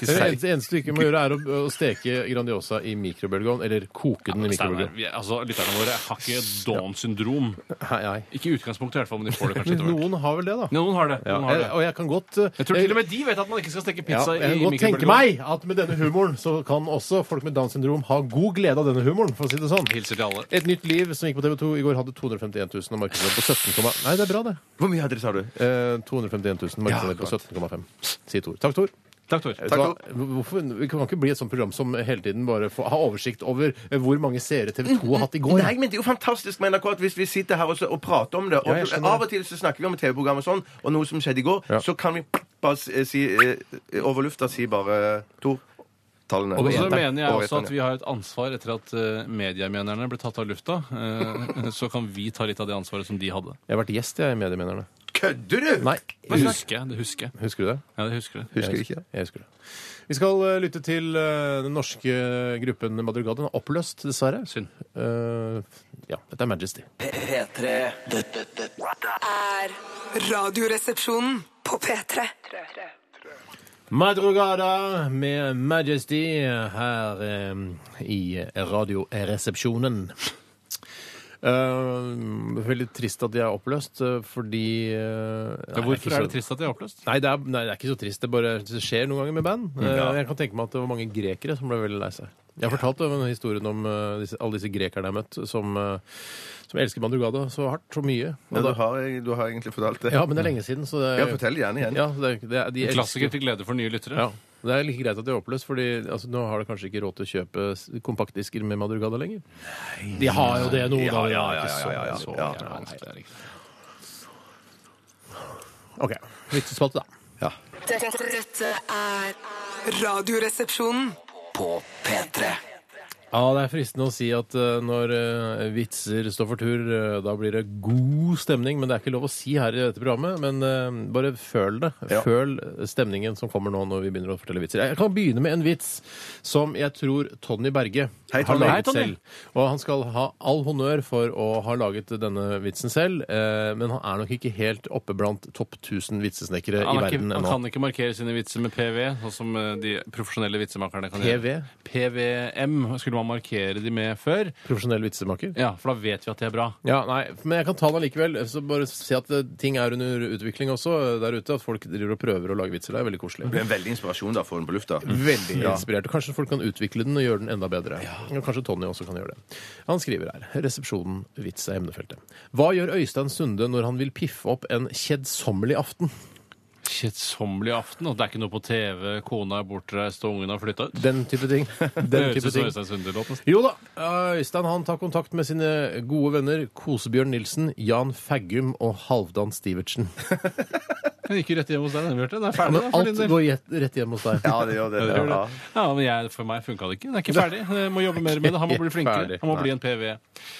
Det seig. eneste, eneste du ikke må gjøre, er å, å steke Grandiosa i mikrobølgeovn, eller koke den i Steinar, mikrobølgeovn. vi- altså, Lytterne våre har ikke Downs syndrom. Nei, nei. Ikke i utgangspunktet, i hvert fall, men de får det kanskje etter hvert. Noen har vel det, da. Noen har det. Ja, Noen har jeg, det. og jeg kan godt eh, Jeg tror til og med de vet at man ikke skal steke ja, pizza jeg kan i godt tenke mikrobølgeovn. meg at med denne humoren så kan også folk med Downs syndrom ha god glede av denne humoren, for å si det sånn. Hilser til alle. Et nytt liv som gikk på TV 2 i går, hadde 251 000 og markedsverdi på 17,5. Nei, det er bra, det. Hvor mye hadde dere, sa du? Eh, 251 000 markedsverdi på 17,5. Sier Tor. Takk, Tor. Takk, Tor. Vet du hva? Hvorfor, vi kan ikke bli et sånt program som hele tiden bare får, har oversikt over eh, hvor mange seere TV 2 har hatt i går. Nei, men det er jo fantastisk med NRK at hvis vi sitter her og, så, og prater om det og Ja, jeg skjønner Av og til så snakker vi om TV-program og sånn, og noe som skjedde i går, Ja. så kan vi bare s- si eh, Over lufta si bare to tallene. Og så Over ett, mener jeg over ett, også ja. at vi har et ansvar etter at eh, mediemenerne ble tatt av lufta. eh, Så kan vi ta litt av det ansvaret som de hadde. Jeg har vært gjest jeg, i Mediemenerne. Kødder du?! Nei, Det husker jeg. Det husker jeg. husker du det? Ja, det husker jeg. Husker ikke. Jeg husker det. Vi skal eh, lytte til eh, den norske gruppen Madrigal. Den er oppløst, dessverre. Synd. Eh, ja, dette er Majesty. P3 Dette er Radioresepsjonen på P3. Madrugada med Majesty her eh, i Radioresepsjonen. Eh, veldig trist at de er oppløst, eh, fordi eh, nei, Hvorfor ikke er så- det trist at de er oppløst? Nei det, er, nei, det er ikke så trist. Det bare det skjer noen ganger med band. Eh, Jeg kan tenke meg at det var mange grekere som ble veldig lei seg. Jeg fortalte om historien om eh, disse, alle disse grekerne jeg har møtt, som, eh, som elsker Madrugada så hardt, så mye. Ja, Og du, da- har, eh, du har egentlig fortalt det. ja, men det er lenge siden, så det Ja, fortell gjerne igjen. Ja, det, er- det, er- de elsker- Klassiker til glede for nye lyttere. ja. Det er like greit at de er oppløst, fordi altså, nå har de kanskje ikke råd til å kjøpe s- kompaktdisker med Madrugada lenger. de har jo det nå, da. ja, Det er ja, ja, ikke ja, ja. så- så Ja. jævla vanskelig. Det er riktig. OK. Vitsespalte, da. Dette, dette er Radioresepsjonen. På P3 Ja, det er fristende å si at eh, når eh, vitser står for tur, eh, da blir det god stemning. Men det er ikke lov å si her i dette programmet. Men eh, bare føl det. Ja. Føl eh, stemningen som kommer nå når vi begynner å fortelle vitser. Jeg kan begynne med en vits som jeg tror Tonny Berge Hei, har Tonny. laget Hei, Tonny. selv. Og han skal ha all honnør for å ha laget denne vitsen selv. eh, Men han er nok ikke helt oppe blant topp 1000 vitsesnekkere Han, i er ikke, verden han ennå. kan ikke markere sine vitser med PV, sånn som eh, de profesjonelle vitsemakerne kan PV? gjøre. PVM skulle man markere de med før. Profesjonell vitsemaker. Ja, for da vet vi at de er bra. Ja, nei, Men jeg kan ta den allikevel. Så bare si at eh, ting er under utvikling også eh, der ute. At folk driver og prøver å lage vitser. Det er veldig koselig. Det blir en veldig inspirasjon da, å få den på lufta. Mm. Veldig inspirert. Og Kanskje folk kan utvikle den og gjøre den enda bedre. Og Kanskje Tonny også kan gjøre det. Han skriver her. Resepsjonen vits er emnefeltet. Hva gjør Øystein Sunde når han vil piffe opp en kjedsommelig aften? Kjedsommelig aften, og det er ikke noe på TV, kona er bortreist og ungene har flytta ut. Den type (laughs) ting. Den høres type ut som ting. Øystein Sunde-låten. Jo da, Øystein han tar kontakt med sine gode venner Kosebjørn Nilsen, Jan Faggum og Halvdan Stivertsen. Den gikk jo rett hjem hos deg. Den hørte jeg. Den Ja, er ferdig. men da, for din alt del. går jet- rett hjem hos deg. Ja, det gjør det. Ja, det gjør Ja. det. Ja, men jeg, For meg funka det ikke. Den er ikke ferdig. Jeg må jobbe mer med det. Han må bli flinkere. Han må bli en PV.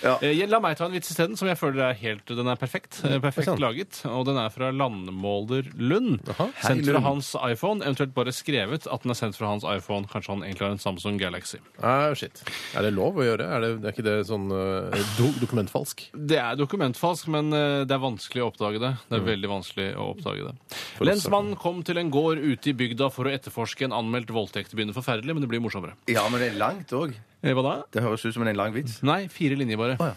Ja. Eh, La meg ta en vits isteden, som jeg føler er helt Den er perfekt. eh, Perfekt Mm. sant. laget. Og den er fra Landmåler Lund. Hei, Sendt fra Lund. hans iPhone. Eventuelt bare skrevet at den er sendt fra hans iPhone. Kanskje han egentlig har en Samsung Galaxy. Ah, shit. Er det lov å gjøre? Er, det, er ikke det sånn eh, do dokumentfalsk? Det er dokumentfalsk, men eh, det er vanskelig å oppdage det. Det er veldig vanskelig Mm. å oppdage det. Lensmannen kom til en gård ute i bygda for å etterforske en anmeldt voldtekt. Det begynner forferdelig, men det blir morsommere. ja, men det er langt òg. Eh, Hva da? Det høres ut som en lang vits. Nei, fire linjer bare.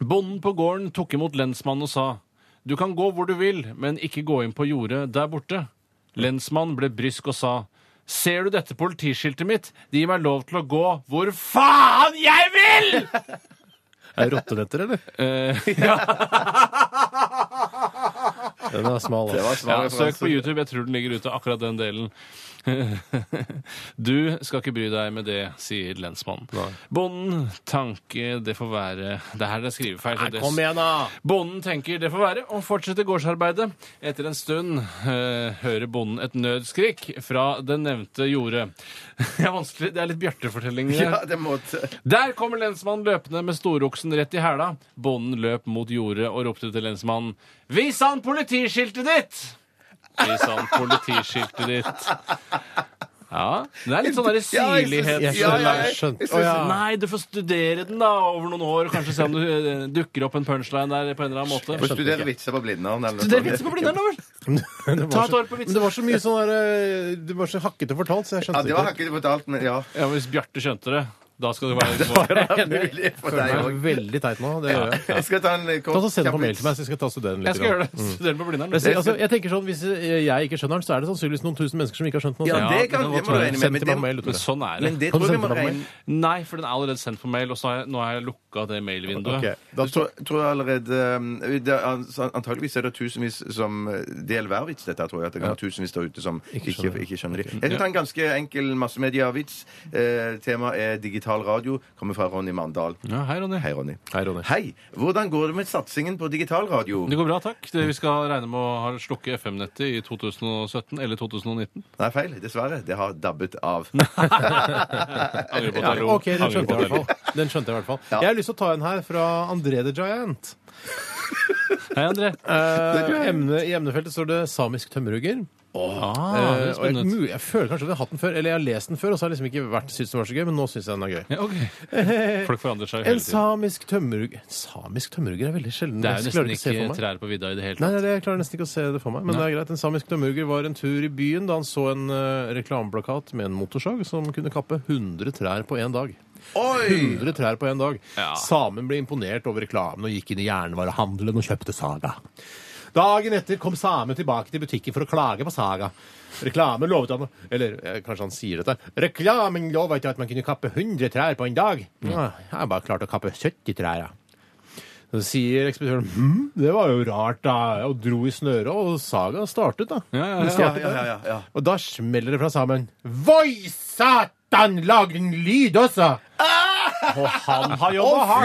Bonden på gården tok imot lensmannen og sa Du kan gå hvor du vil, men ikke gå inn på jordet der borte. Lensmannen ble brysk og sa Ser du dette politiskiltet mitt? Det gir meg lov til å gå hvor faen jeg vil! (laughs) Er det rottenetter, eller? Eh, (laughs) ja, Den er smal. altså. ja, søk på YouTube. Jeg tror den ligger ute, akkurat den delen. (laughs) Du skal ikke bry deg med det, sier lensmannen. Bonden tanke, det får være Det her er en skrivefeil. så Nei, det- kom igjen, da! Bonden tenker det får være, og fortsetter gårdsarbeidet. Etter en stund eh, hører bonden et nødskrik fra det nevnte jordet. (laughs) Det er vanskelig, det er litt bjørtefortelling. det. Ja, det måtte Der kommer lensmannen løpende med storoksen rett i hæla. Bonden løp mot jordet og ropte til lensmannen Vis han politiskiltet ditt! Vis han politiskiltet ditt. Ja, det er litt sånn der sirlighet. Jeg Ja, skjønner. ja, ja. jeg skjønner. Å, ja. Nei, du får studere den da over noen år, og kanskje se om du eh, dukker opp en punchline der på en eller annen måte. Få studere vitser på Blindern. eller noe Studere sånt. vitser på Blindern, da vel! Det var Ta et så- år på vitsen. Men Det var så mye sånn der eh, Det var så hakkete fortalt, så jeg Ja, skjønte det var hakket fortalt, men ja. Ja, men Hvis Bjarte skjønte det, da skal det være litt Mulig for Det deg er også. veldig teit nå. Det gjør jeg. Jeg skal ta en eh, kort Ta så Send på mail til meg, så jeg skal ta og studere den litt. Jeg skal grann. gjøre det. Studere på Blindern. Jeg, sier, altså, jeg tenker sånn, Hvis jeg ikke skjønner den, så er det sannsynligvis noen tusen mennesker som ikke har skjønt den. Ja, også. det det kan kan vi godt må være. regne med. Send Men til det, meg på mail. Tore. Men sånn er men det. det Kan du tror jeg sende vi må det på mail? regne Nei, for den er allerede sendt på mail, og så har jeg, nå har jeg lukka det mailvinduet. Ok, da Jeg tror, tror jeg allerede um, det er- an- Antageligvis er det tusenvis som eh, deler hver vits. Dette her, tror jeg at det kan være tusenvis der ute som ikke skjønner, ikke skjønner det. Jeg skal ta en ganske enkel massemediavits. Eh, Temaet er digital radio. Kommer fra Ronny Mandal. Ja, hei, Ronny. Hei, Ronny. Hei, Ronny. Hei! Hvordan går det med satsingen på digital radio? Det går bra, takk. Det- Vi skal regne med å ha- slukke FM-nettet i 2017 eller 2019. Nei, feil. Dessverre. Det har dabbet av. Angrer på at jeg Ja, lo. ok, den Angrer skjønte på jeg i at jeg hvert fall. Den skjønte Jeg i hvert fall. Jeg har lyst til å ta en her fra André the Giant. lo. Hei, André. Eh, emne, I emnefeltet står det samisk tømmerhugger. Ah, det Eh, er og jeg, spennende. mu- jeg føler kanskje at jeg har hatt den før, eller jeg har lest den før, og så har jeg liksom ikke vært, syntes den var så gøy, men nå syns jeg den er gøy. Ja, (laughs) ok. Folk forandrer seg jo hele En tiden. samisk tømmerhugger Samisk tømmerhugger er veldig sjelden. Det er Jeg jo klarer nesten å se for ikke meg. trær på vidda i det Nei, hele tatt. nei, det- jeg klarer nesten ikke å se det for meg. Men det er greit. En samisk tømmerhugger var en tur i byen da han så en eh, reklameplakat med en motorsag som kunne kappe 100 trær på én dag. Oi! 100 trær på én dag. Ja. Samen ble imponert over reklamen og gikk inn i jernvarehandelen og kjøpte Saga. Dagen etter kom samen tilbake til butikken for å klage på Saga. Reklamen lovet han Eller eh, kanskje han sier dette. Reklamen lovet at man kunne kappe 100 trær på en dag. Mm. Ja, jeg bare klarte å kappe 70 trær, ja. Så sier ekspeditøren hm, det var jo rart, da, og dro i snøret, og saga startet, da. Ja, ja, ja. Den startet Ja, ja, der. ja, ja. Og da smeller det fra sammen. Voi satan, lag en lyd også! Og han har jobba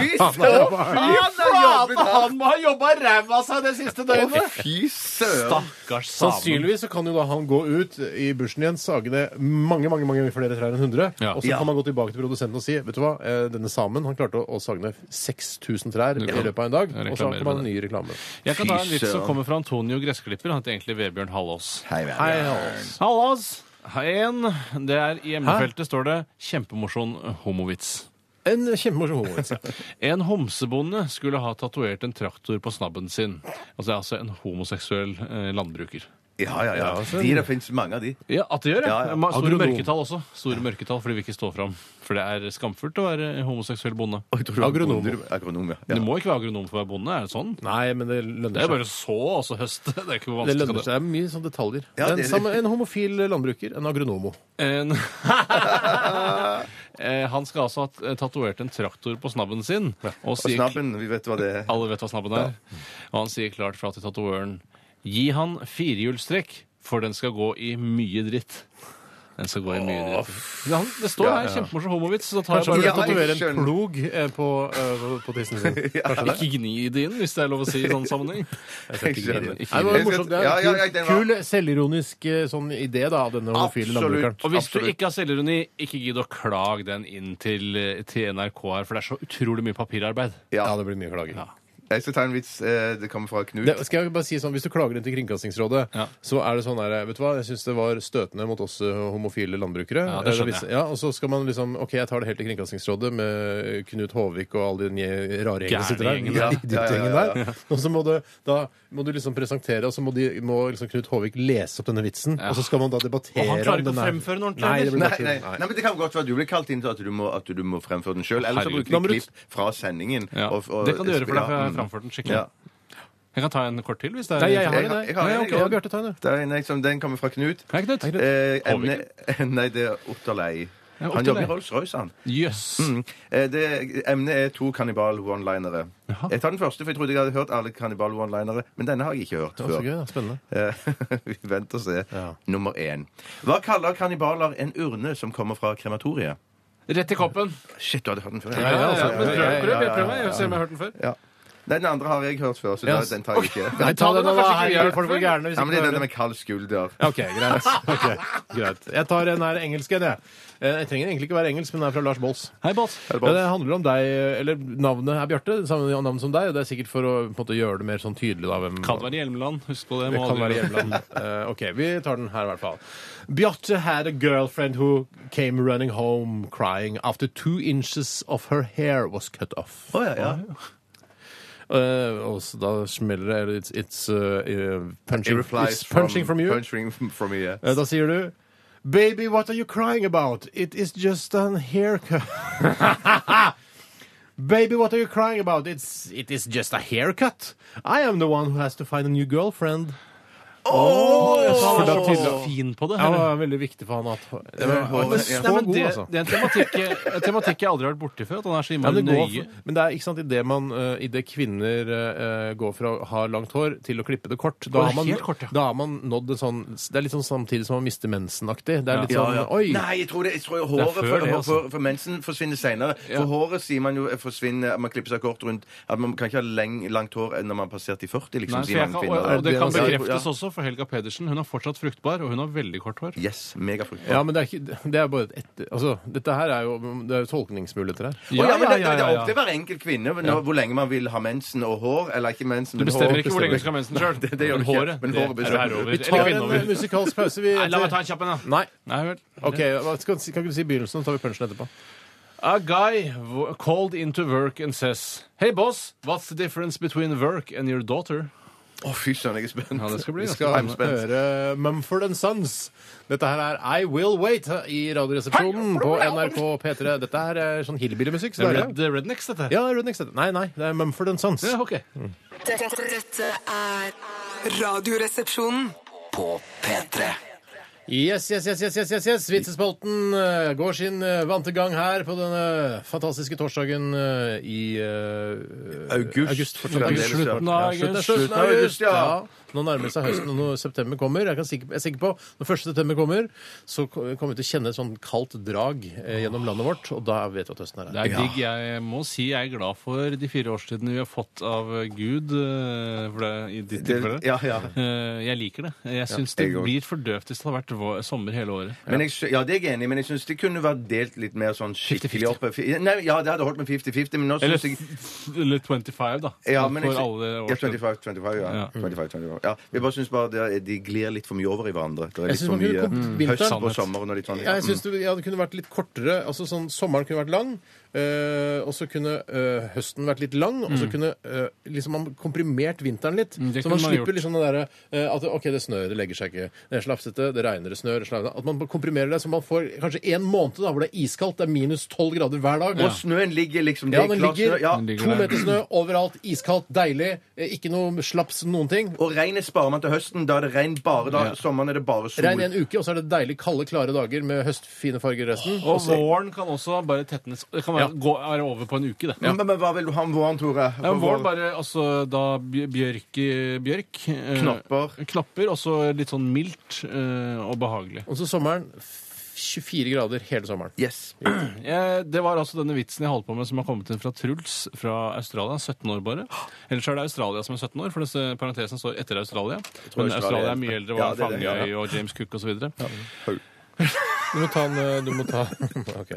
Å, fy hardt. Han har søren! Fy jobba hardt. flate, Han må ha jobba ræva av seg det siste døgnet! Fy søren! Stakkars samen. Sannsynligvis så kan jo da han gå ut i bushen igjen, sage ned mange mange, mange flere trær enn 100, Ja. og så Ja. kan man gå tilbake til produsenten og si vet du hva, eh, denne samen han klarte å, å sage ned 6000 trær i løpet av en dag, og så reklamerer kom han med en ny reklame. Jeg kan ta en vits som søren. kommer fra Antonio Gressklipper. Han heter egentlig Vebjørn Hallås. Hei, vel. Hei, Hans. Hallas! En, det er I emnefeltet står det 'kjempemorsom homovits'. En kjempemorsom homovits. En homsebonde skulle ha tatovert en traktor på snabben sin. Altså, altså en homoseksuell eh, landbruker. Ja, ja, ja. De, det fins mange av de. Ja, At det gjør, ja. Ja, ja. Ma- Store Agronom. mørketall også. Store mørketall, For de vil ikke stå fram. For det er skamfullt å være homoseksuell bonde. Oi, tror du- Agronom. Agronom, ja. ja. Du må ikke være agronom for å være bonde. Er det sånn? Nei, men det Det lønner er seg. bare å så og så høste. (laughs) Det er ikke hvor Det vanskelig lønner seg. Det er mye sånne detaljer. Ja, en, det- samme, en homofil landbruker, en agronomo. En... (laughs) Eh, Han skal altså ha tatovert en traktor på snabben sin. Og Og sier snabben, vi vet hva det er. Alle vet hva snabben er. Mm. Og han sier klart fra til tatovøren Gi han firehjulstrekk, for den skal gå i mye dritt. Den skal gå i mye dritt. Ja, han- Det står her, kjempemorsom homovits. Så tar jeg Kanskje han Ja, burde bare jeg tatovere en skjønner. plog eh, på, eh, på tissen (laughs) sin. Ikke gni det inn, hvis det er lov å si i sånn sammenheng. Jeg skjønner. Nei, Ikke det var Jeg skal- jo morsomt. Det er ja, ja, ja, en den var- kul, kul selvironisk eh, sånn idé da, av denne homofile Absolutt. landbrukeren. Og hvis Absolutt. du ikke har selvironi, ikke gidd å klage den inn til, eh, til NRK her, for det er så utrolig mye papirarbeid. Ja. Ja, det blir mye klaging. Jeg skal ta en vits. eh, Det kommer fra Knut. Det, skal jeg bare si sånn, Hvis du klager inn til Kringkastingsrådet, Ja. så er det sånn her Vet du hva, jeg syns det var støtende mot oss eh, homofile landbrukere. Ja, det skjønner Eller hvis- jeg. Ja, og så skal man liksom OK, jeg tar det helt til Kringkastingsrådet med Knut Håvik og alle de nye rare gjengene som sitter der. Gærne gjengen, ja. (laughs) Ja, Idiotgjengen ja, ja, der. Og så må du, da må du liksom presentere, og så må, de, må liksom Knut Håvik lese opp denne vitsen, og så skal man da debattere Og han klarer om ikke å den er- fremføre den ordentlig, Nei, det blir Nei, bare nei, nei, tull. men Det kan godt være at du blir kalt inn til at du må, at du må fremføre den sjøl. Eller så Herregud. bruker Da må vi du- klipp fra sendingen. Ja. og- og- det kan du gjøre, for da får ja, jeg mm. framført den skikkelig. Ja. Jeg kan ta en kort til, hvis det er Nei, jeg har Jeg en, har- jeg. jeg har Nei, en, ok, jeg har- ja, Bjarte, ta en, du. Det er en jeg som, den kommer fra Knut. Hei, Knut. Eh, emne, Håvik. (laughs) nei, det er Otterlei. Ja, Han Otterlei. jobber i Rolls-Royce, han. Jøss. Mm. Eh, Det, emnet er to kannibal-one-linere. Jaha. Jeg tar den første, for jeg trodde jeg hadde hørt alle kannibal-one-linere. Men denne har jeg ikke hørt Det var så før. gøy, da. Spennende. Eh, (laughs) Vi venter og ser. Ja. Nummer én. Hva kaller kannibaler en urne som kommer fra krematoriet? Rett i koppen. Shit, du hadde hørt den før. Ja, ja, ja, ja, Men prøv, ja, prøv, ja, prøv ja, meg. ja. Se om altså, jeg har hørt den før. Ja. Nei, Den andre har jeg hørt før, så Ja, da- den tar jeg ikke. (laughs) Nei, ta den, da. kanskje ikke Her jeg blir folk før. gærne hvis Nei, men ikke det er du hører den den. med kald skulder. Ok, greit. (laughs) Ok, greit. Jeg tar en her engelsk en, jeg. Eh, Jeg trenger egentlig ikke være engelsk, men den er fra Lars Bolls. Hei, Boss. Ja, det handler om deg, eller navnet er Bjarte, samme navn som deg. og Det er sikkert for å på en måte, gjøre det mer sånn tydelig. Da, hvem, Kan være Hjelmeland. Husk på det. det må kan aldri- være hjemland. Eh, OK, vi tar den her i hvert fall. Bjarte had a girlfriend who came running home crying after two inches of her hair was cut off. Å, ja, ja. Eh, og så da smeller det eller It's, it's uh, eh, It punching, replies it's punching from, you. Punching from you, yeah. Eh, da sier du Baby, what are you crying about? It is just a haircut. (laughs) Baby, what are you crying about? It's, it is just a haircut. I am the one who has to find a new girlfriend. For da Åh. tyder det er fin på det. Det her. var veldig viktig for han at det var, Ja, men- så Nei, men god, det, altså. det er en tematikk, en tematikk jeg aldri har vært borti før. At han er så Ja, innmari men, det går, nøye. men det er ikke sant i det man eh, i det kvinner eh, går fra å ha langt hår til å klippe det kort. Da Å, har man, helt kort, ja. da har man nådd en sånn Det er litt sånn samtidig som man mister mensen-aktig. Det er litt Ja, sånn ja. Oi! Nei, jeg tror, det, jeg tror jo er håret før for, det, altså. for, for mensen forsvinner senere. For håret sier man jo eh, forsvinner Man klipper seg kort rundt at man kan ikke ha leng, langt hår enn når man har passert de 40, liksom, Nei, for sier jeg mange kan, og, kvinner. og det kan Ja, altså, ja. bekreftes også, for Helga Pedersen hun er fortsatt fruktbar, og hun har veldig kort hår. Yes. Megafruktbar. Ja, men det er, ikke, det er bare et etter... Altså, dette her er jo det er jo tolkningsmuligheter her. Å, ja, men det, det, det er opp til hver enkelt kvinne men nå- hvor lenge man vil ha mensen og hår. Eller ikke mensen, Du men bestemmer hår. ikke hvor lenge du skal ha mensen sjøl. (laughs) det gjør du ikke. håret, Men det håret sånn. er du bestemmer. herre over. Vi Ta Eller kvinne en eh, over. musikalsk pause, vi. Nei, la meg ta en kjapp en, da. Nei. Nei vel. OK, hva skal, kan ikke du si begynnelsen, så tar vi punsjen etterpå. A guy w- called into work and says Hey boss, what's the difference between work and your daughter? Å, fy søren, jeg er spent. Ja, det skal bli Vi ganske skal I'm spent. høre Mumford and Sons. Dette her er I Will Wait eh, i Radioresepsjonen på NRK P3. Dette her er sånn hillbillymusikk. så Det det er er Red, det er Rednecks, dette her. Ja, Rednecks. Nei, nei, det er Mumford and Sons. Ja, ok. Dette er Radioresepsjonen. På P3 Yes, yes, yes, yes, yes, yes, yes. Vitsespalten eh, går sin eh, vante gang her på denne fantastiske torsdagen eh, i eh, August. fortsatt. Fremdeles, ja. August, slutten av august. Ja, slutten av august, ja. Nå nærmer det seg høsten, og når september kommer Jeg, kan sikker, jeg er sikker på når 1. september kommer, så ko- kommer vi til å kjenne et sånn kaldt drag eh, gjennom landet vårt, og da vet vi at høsten er Det her. er digg. Jeg må si jeg er glad for de fire årstidene vi har fått av Gud. eh, For det, i ditt tilfelle. Ja, ja. Eh, Jeg liker det. Jeg syns jeg det også. blir for døvt hvis det hadde vært vår, sommer hele året. Men jeg, sy- ja, det er jeg enig i, men jeg syns det kunne vært delt litt mer sånn skikkelig opp. Nei, ja, det hadde holdt med 50-50, men nå Eller, syns jeg eller 25, da. Ja, men for jeg, alle ja, årstidene. 25, 25, ja. Ja. 25, 25. ja. Jeg bare syns bare det er- de glir litt for mye over i hverandre. Det er Jeg litt synes for man kunne mye kommet mm, vinteren. høst og sommer. Når de tar Ja, jeg synes det, ja, det kunne vært litt kortere. altså sånn, Sommeren kunne vært lang, øh, og så kunne øh, høsten vært litt lang. Og så kunne øh, liksom man komprimert vinteren litt. Mm, det så man kunne man slipper gjort. liksom det derre øh, at OK, det snør, det legger seg ikke. Det er slafsete, det regner, det snør. det slafser. At man komprimerer det så man får kanskje én måned da, hvor det er iskaldt. Det er minus tolv grader hver dag. Mm. Og snøen ligger liksom det Ja, er den klart ligger snø, ja. Den ligger To der. meter snø overalt, iskaldt, deilig. eh, Ikke noe slaps noen ting. Og regnet sparer man til høsten. Da er det regn bare da. Ja. Sommeren er det bare sol. Regn i en uke, og så er det deilig kalde, klare dager med høstfine farger resten. Og våren kan også bare tetnes. Det kan være, gå, være over på en uke, det. Mm. Men, men hva vil du ha om våren, Tore? Ja, For våren vår- bare, altså da bj- bjørk, i- bjørk eh, Knapper. Knapper, og så litt sånn mildt eh, og behagelig. Og så sommeren. f- 24 grader hele sommeren. (laughs) Yes. Jeg, det var altså denne vitsen jeg holdt på med som har kommet inn fra Truls fra Australia. 17 år bare. Ellers er det Australia som er 17 år, for disse parentesen står etter Australia. tror Men Australia Australia er- er mye eldre, Ja, det var er det, fanga ja. i og James Cook osv. Du må ta en eh, Du må ta OK.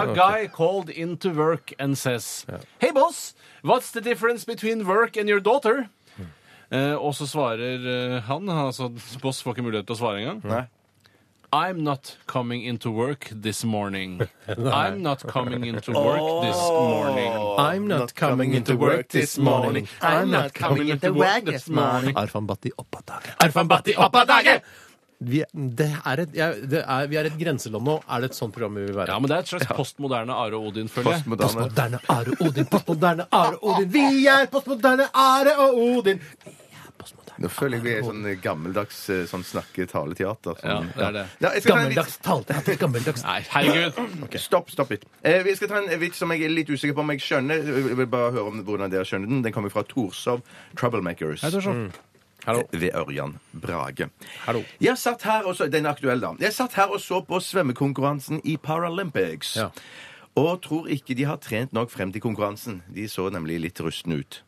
A guy called into work and says Hey boss, what's the difference between work and your daughter? Hmm. Eh, og så svarer eh, han, altså boss får ikke mulighet til å svare engang. Nei. I'm not coming into work this morning. I'm not coming into work this morning. I'm not coming into work this morning. I'm not coming into work this morning. Arfan Bhatti oppa dagen. Arfan Bhatti oppa dagen! Vi, det er et, jeg, det er, vi er et grenseland nå. Er det et sånt program vi vil være? Ja, men det er et slags postmoderne Are Odin, føler jeg. Postmoderne. Postmoderne Are Odin, postmoderne Are Odin. Vi er postmoderne Are og Odin. Nå føler jeg vi er sånn gammeldags eh, sånn snakketaleteater. Sånn. Ja, det er det. Ja, jeg skal ta en vits. Gammeldags taleteater. Gammeldags Nei, herregud! Stopp, stopp litt. Eh, vi skal ta en vits som jeg er litt usikker på om jeg skjønner. Jeg vil bare høre om hvordan dere skjønner den. Den kommer fra Torshov Troublemakers. Hallo. Ved Ørjan Brage. Hallo. Jeg satt her og så, den er aktuell da. Jeg satt her og så på svømmekonkurransen i Paralympics. Ja. Og tror ikke de har trent nok frem til konkurransen. De så nemlig litt rustne ut.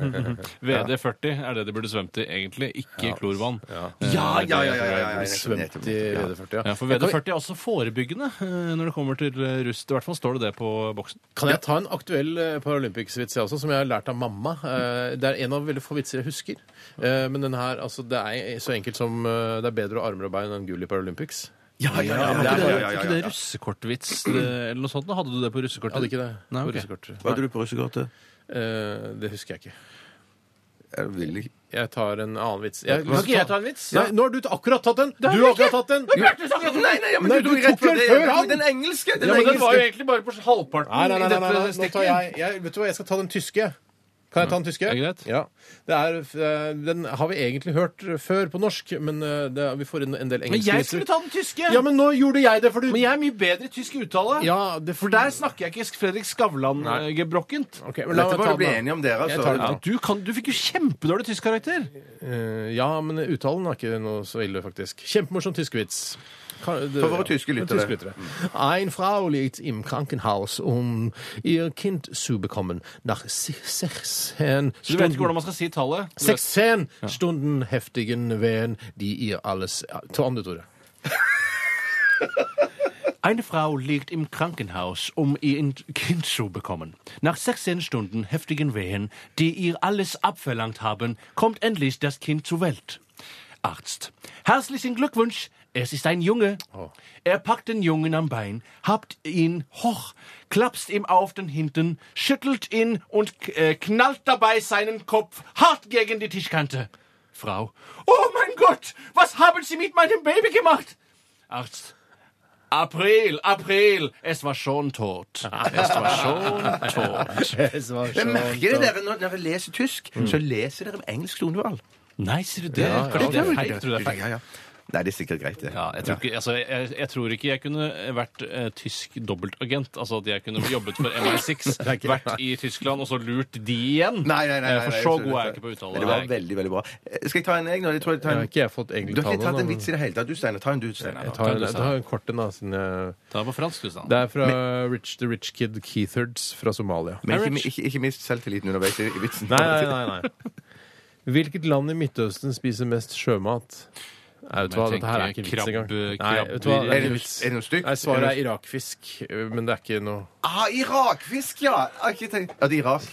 VD40 er det de burde svømt i, egentlig. Ikke klorvann. Ja, ja, ja, ja, ja, ja, ja. svømt i VD40. Ja, for VD40 er også forebyggende eh, når det kommer til eh, rust. I hvert fall står det det på boksen. Kan jeg ta en aktuell eh, Paralympics-vits jeg også, som jeg har lært av mamma? Eh, Det er en av veldig få vitser jeg husker. Eh, Men den her, altså, det er så enkelt som eh, det er bedre å ha armer og bein enn gull i Paralympics. Ja, ja, ja, ja, Det er ja, bare ja, ja, ikke det ja. russekortvits eh, eller noe sånt. da. Hadde du det på russekortet? Hadde ikke det? Nei, ok. Russekort. Hva hadde du på russekortet? Eh, Det husker jeg ikke. Jeg vil ikke. Jeg tar en annen vits. Jeg, Kan ikke jeg ta en vits? Nei, nå har du akkurat tatt den! Du har akkurat tatt den! Nei, nei, ja, men Nei, du du tok rett tok fra den det. før Jeg han. tok Den engelske! Den Ja, men den var engelske. jo egentlig bare på halvparten Nei, nei, nei, nei, i nei, dette nei. Nå tar jeg, jeg Vet du hva, jeg skal ta den tyske. Kan jeg ta den tyske? Er det greit? Ja. Det er, eh, den har vi egentlig hørt før på norsk, men eh, det, er- vi får inn en del engelske vitser. den tyske! Ja, men nå gjorde jeg det, for du Men jeg er mye bedre i tysk uttale. Ja, det For der snakker jeg ikke Fredrik Skavlan-gebrokkent. Ok, men la Dette meg må ta du bli den. da. enige om, dere. Jeg tar den. Altså. Ja. Du, kan, du fikk jo kjempedårlig tysk karakter. Eh, Ja, men uttalen er ikke noe så ille, faktisk. Kjempemorsom tyskevits. For våre tyske lyttere. Ein Frau liegt im Krankenhaus, um ihr Kind zu bekommen, nach si- 16 Du vet ikke Stunden. hvordan man skal si tallet. Du vet- 16 Stunden heftigen Wehen, die ihr alles ja, Ta om du, Tore. Eine Frau liegt im Krankenhaus, um ihr Kind zu bekommen. Nach 16 Stunden heftigen Wehen, die ihr alles abverlangt haben, kommt endlich das Kind zur Welt. Arzt. Herzlichen Glückwunsch. Es ist ein Junge. Er packt den Jungen am Bein, habt ihn hoch, klapst ihm auf den Hinten, schüttelt ihn und äh, knallt dabei seinen Kopf hart gegen die Tischkante. Frau. Oh mein Gott, was haben Sie mit meinem Baby gemacht? Arzt. April, April! Es war schon tot. Es war schon tot. Jeg merker det dere når dere leser tysk, så leser dere med engelsk tonevalg. Nei, sier du det? Ja, ja, Kanskje det er det er feil? Tror det er feil. Ja, ja. Nei, det er sikkert greit, det. Ja, jeg, tror ikke, altså, jeg, jeg tror ikke jeg kunne vært eh, tysk dobbeltagent. Altså at jeg kunne jobbet for (laughs) MI6, vært i Tyskland og så lurt de igjen. Nei, nei, nei, nei, Eh, For nei, så jeg god er jeg skjønner ikke på uttale. Men det var Nei. veldig, veldig bra. Eh, Skal jeg ta en jeg nå? Jeg tror jeg tar Jeg har en... ikke jeg fått Du egentlig har ikke tatt tallene, en men- vits i det hele tatt, du, Steinar. Ta en du, Steinar. Jeg tar en, Ta en, jeg tar en kort en, da. Siden jeg... Ta på fransk, du sa. Det er fra Rich the Rich Kid Keithards fra Somalia. Men ikke, Marriage. ikke, ikke mist selvtilliten underveis i i vitsen. nei. Hvilket land i Midtøsten spiser mest sjømat? Nei, vet du hva, Men jeg dette her er tenker ikke en vits engang. krabbe- Nei, vet du hva, eh, det krabber- Er det, ikke vits. er det noe stygt? Nei, Er svaret det er irakfisk, men det er ikke noe noe- Ah, Irakfisk, ja! Jeg har ikke tenkt- Ja, det er Irak.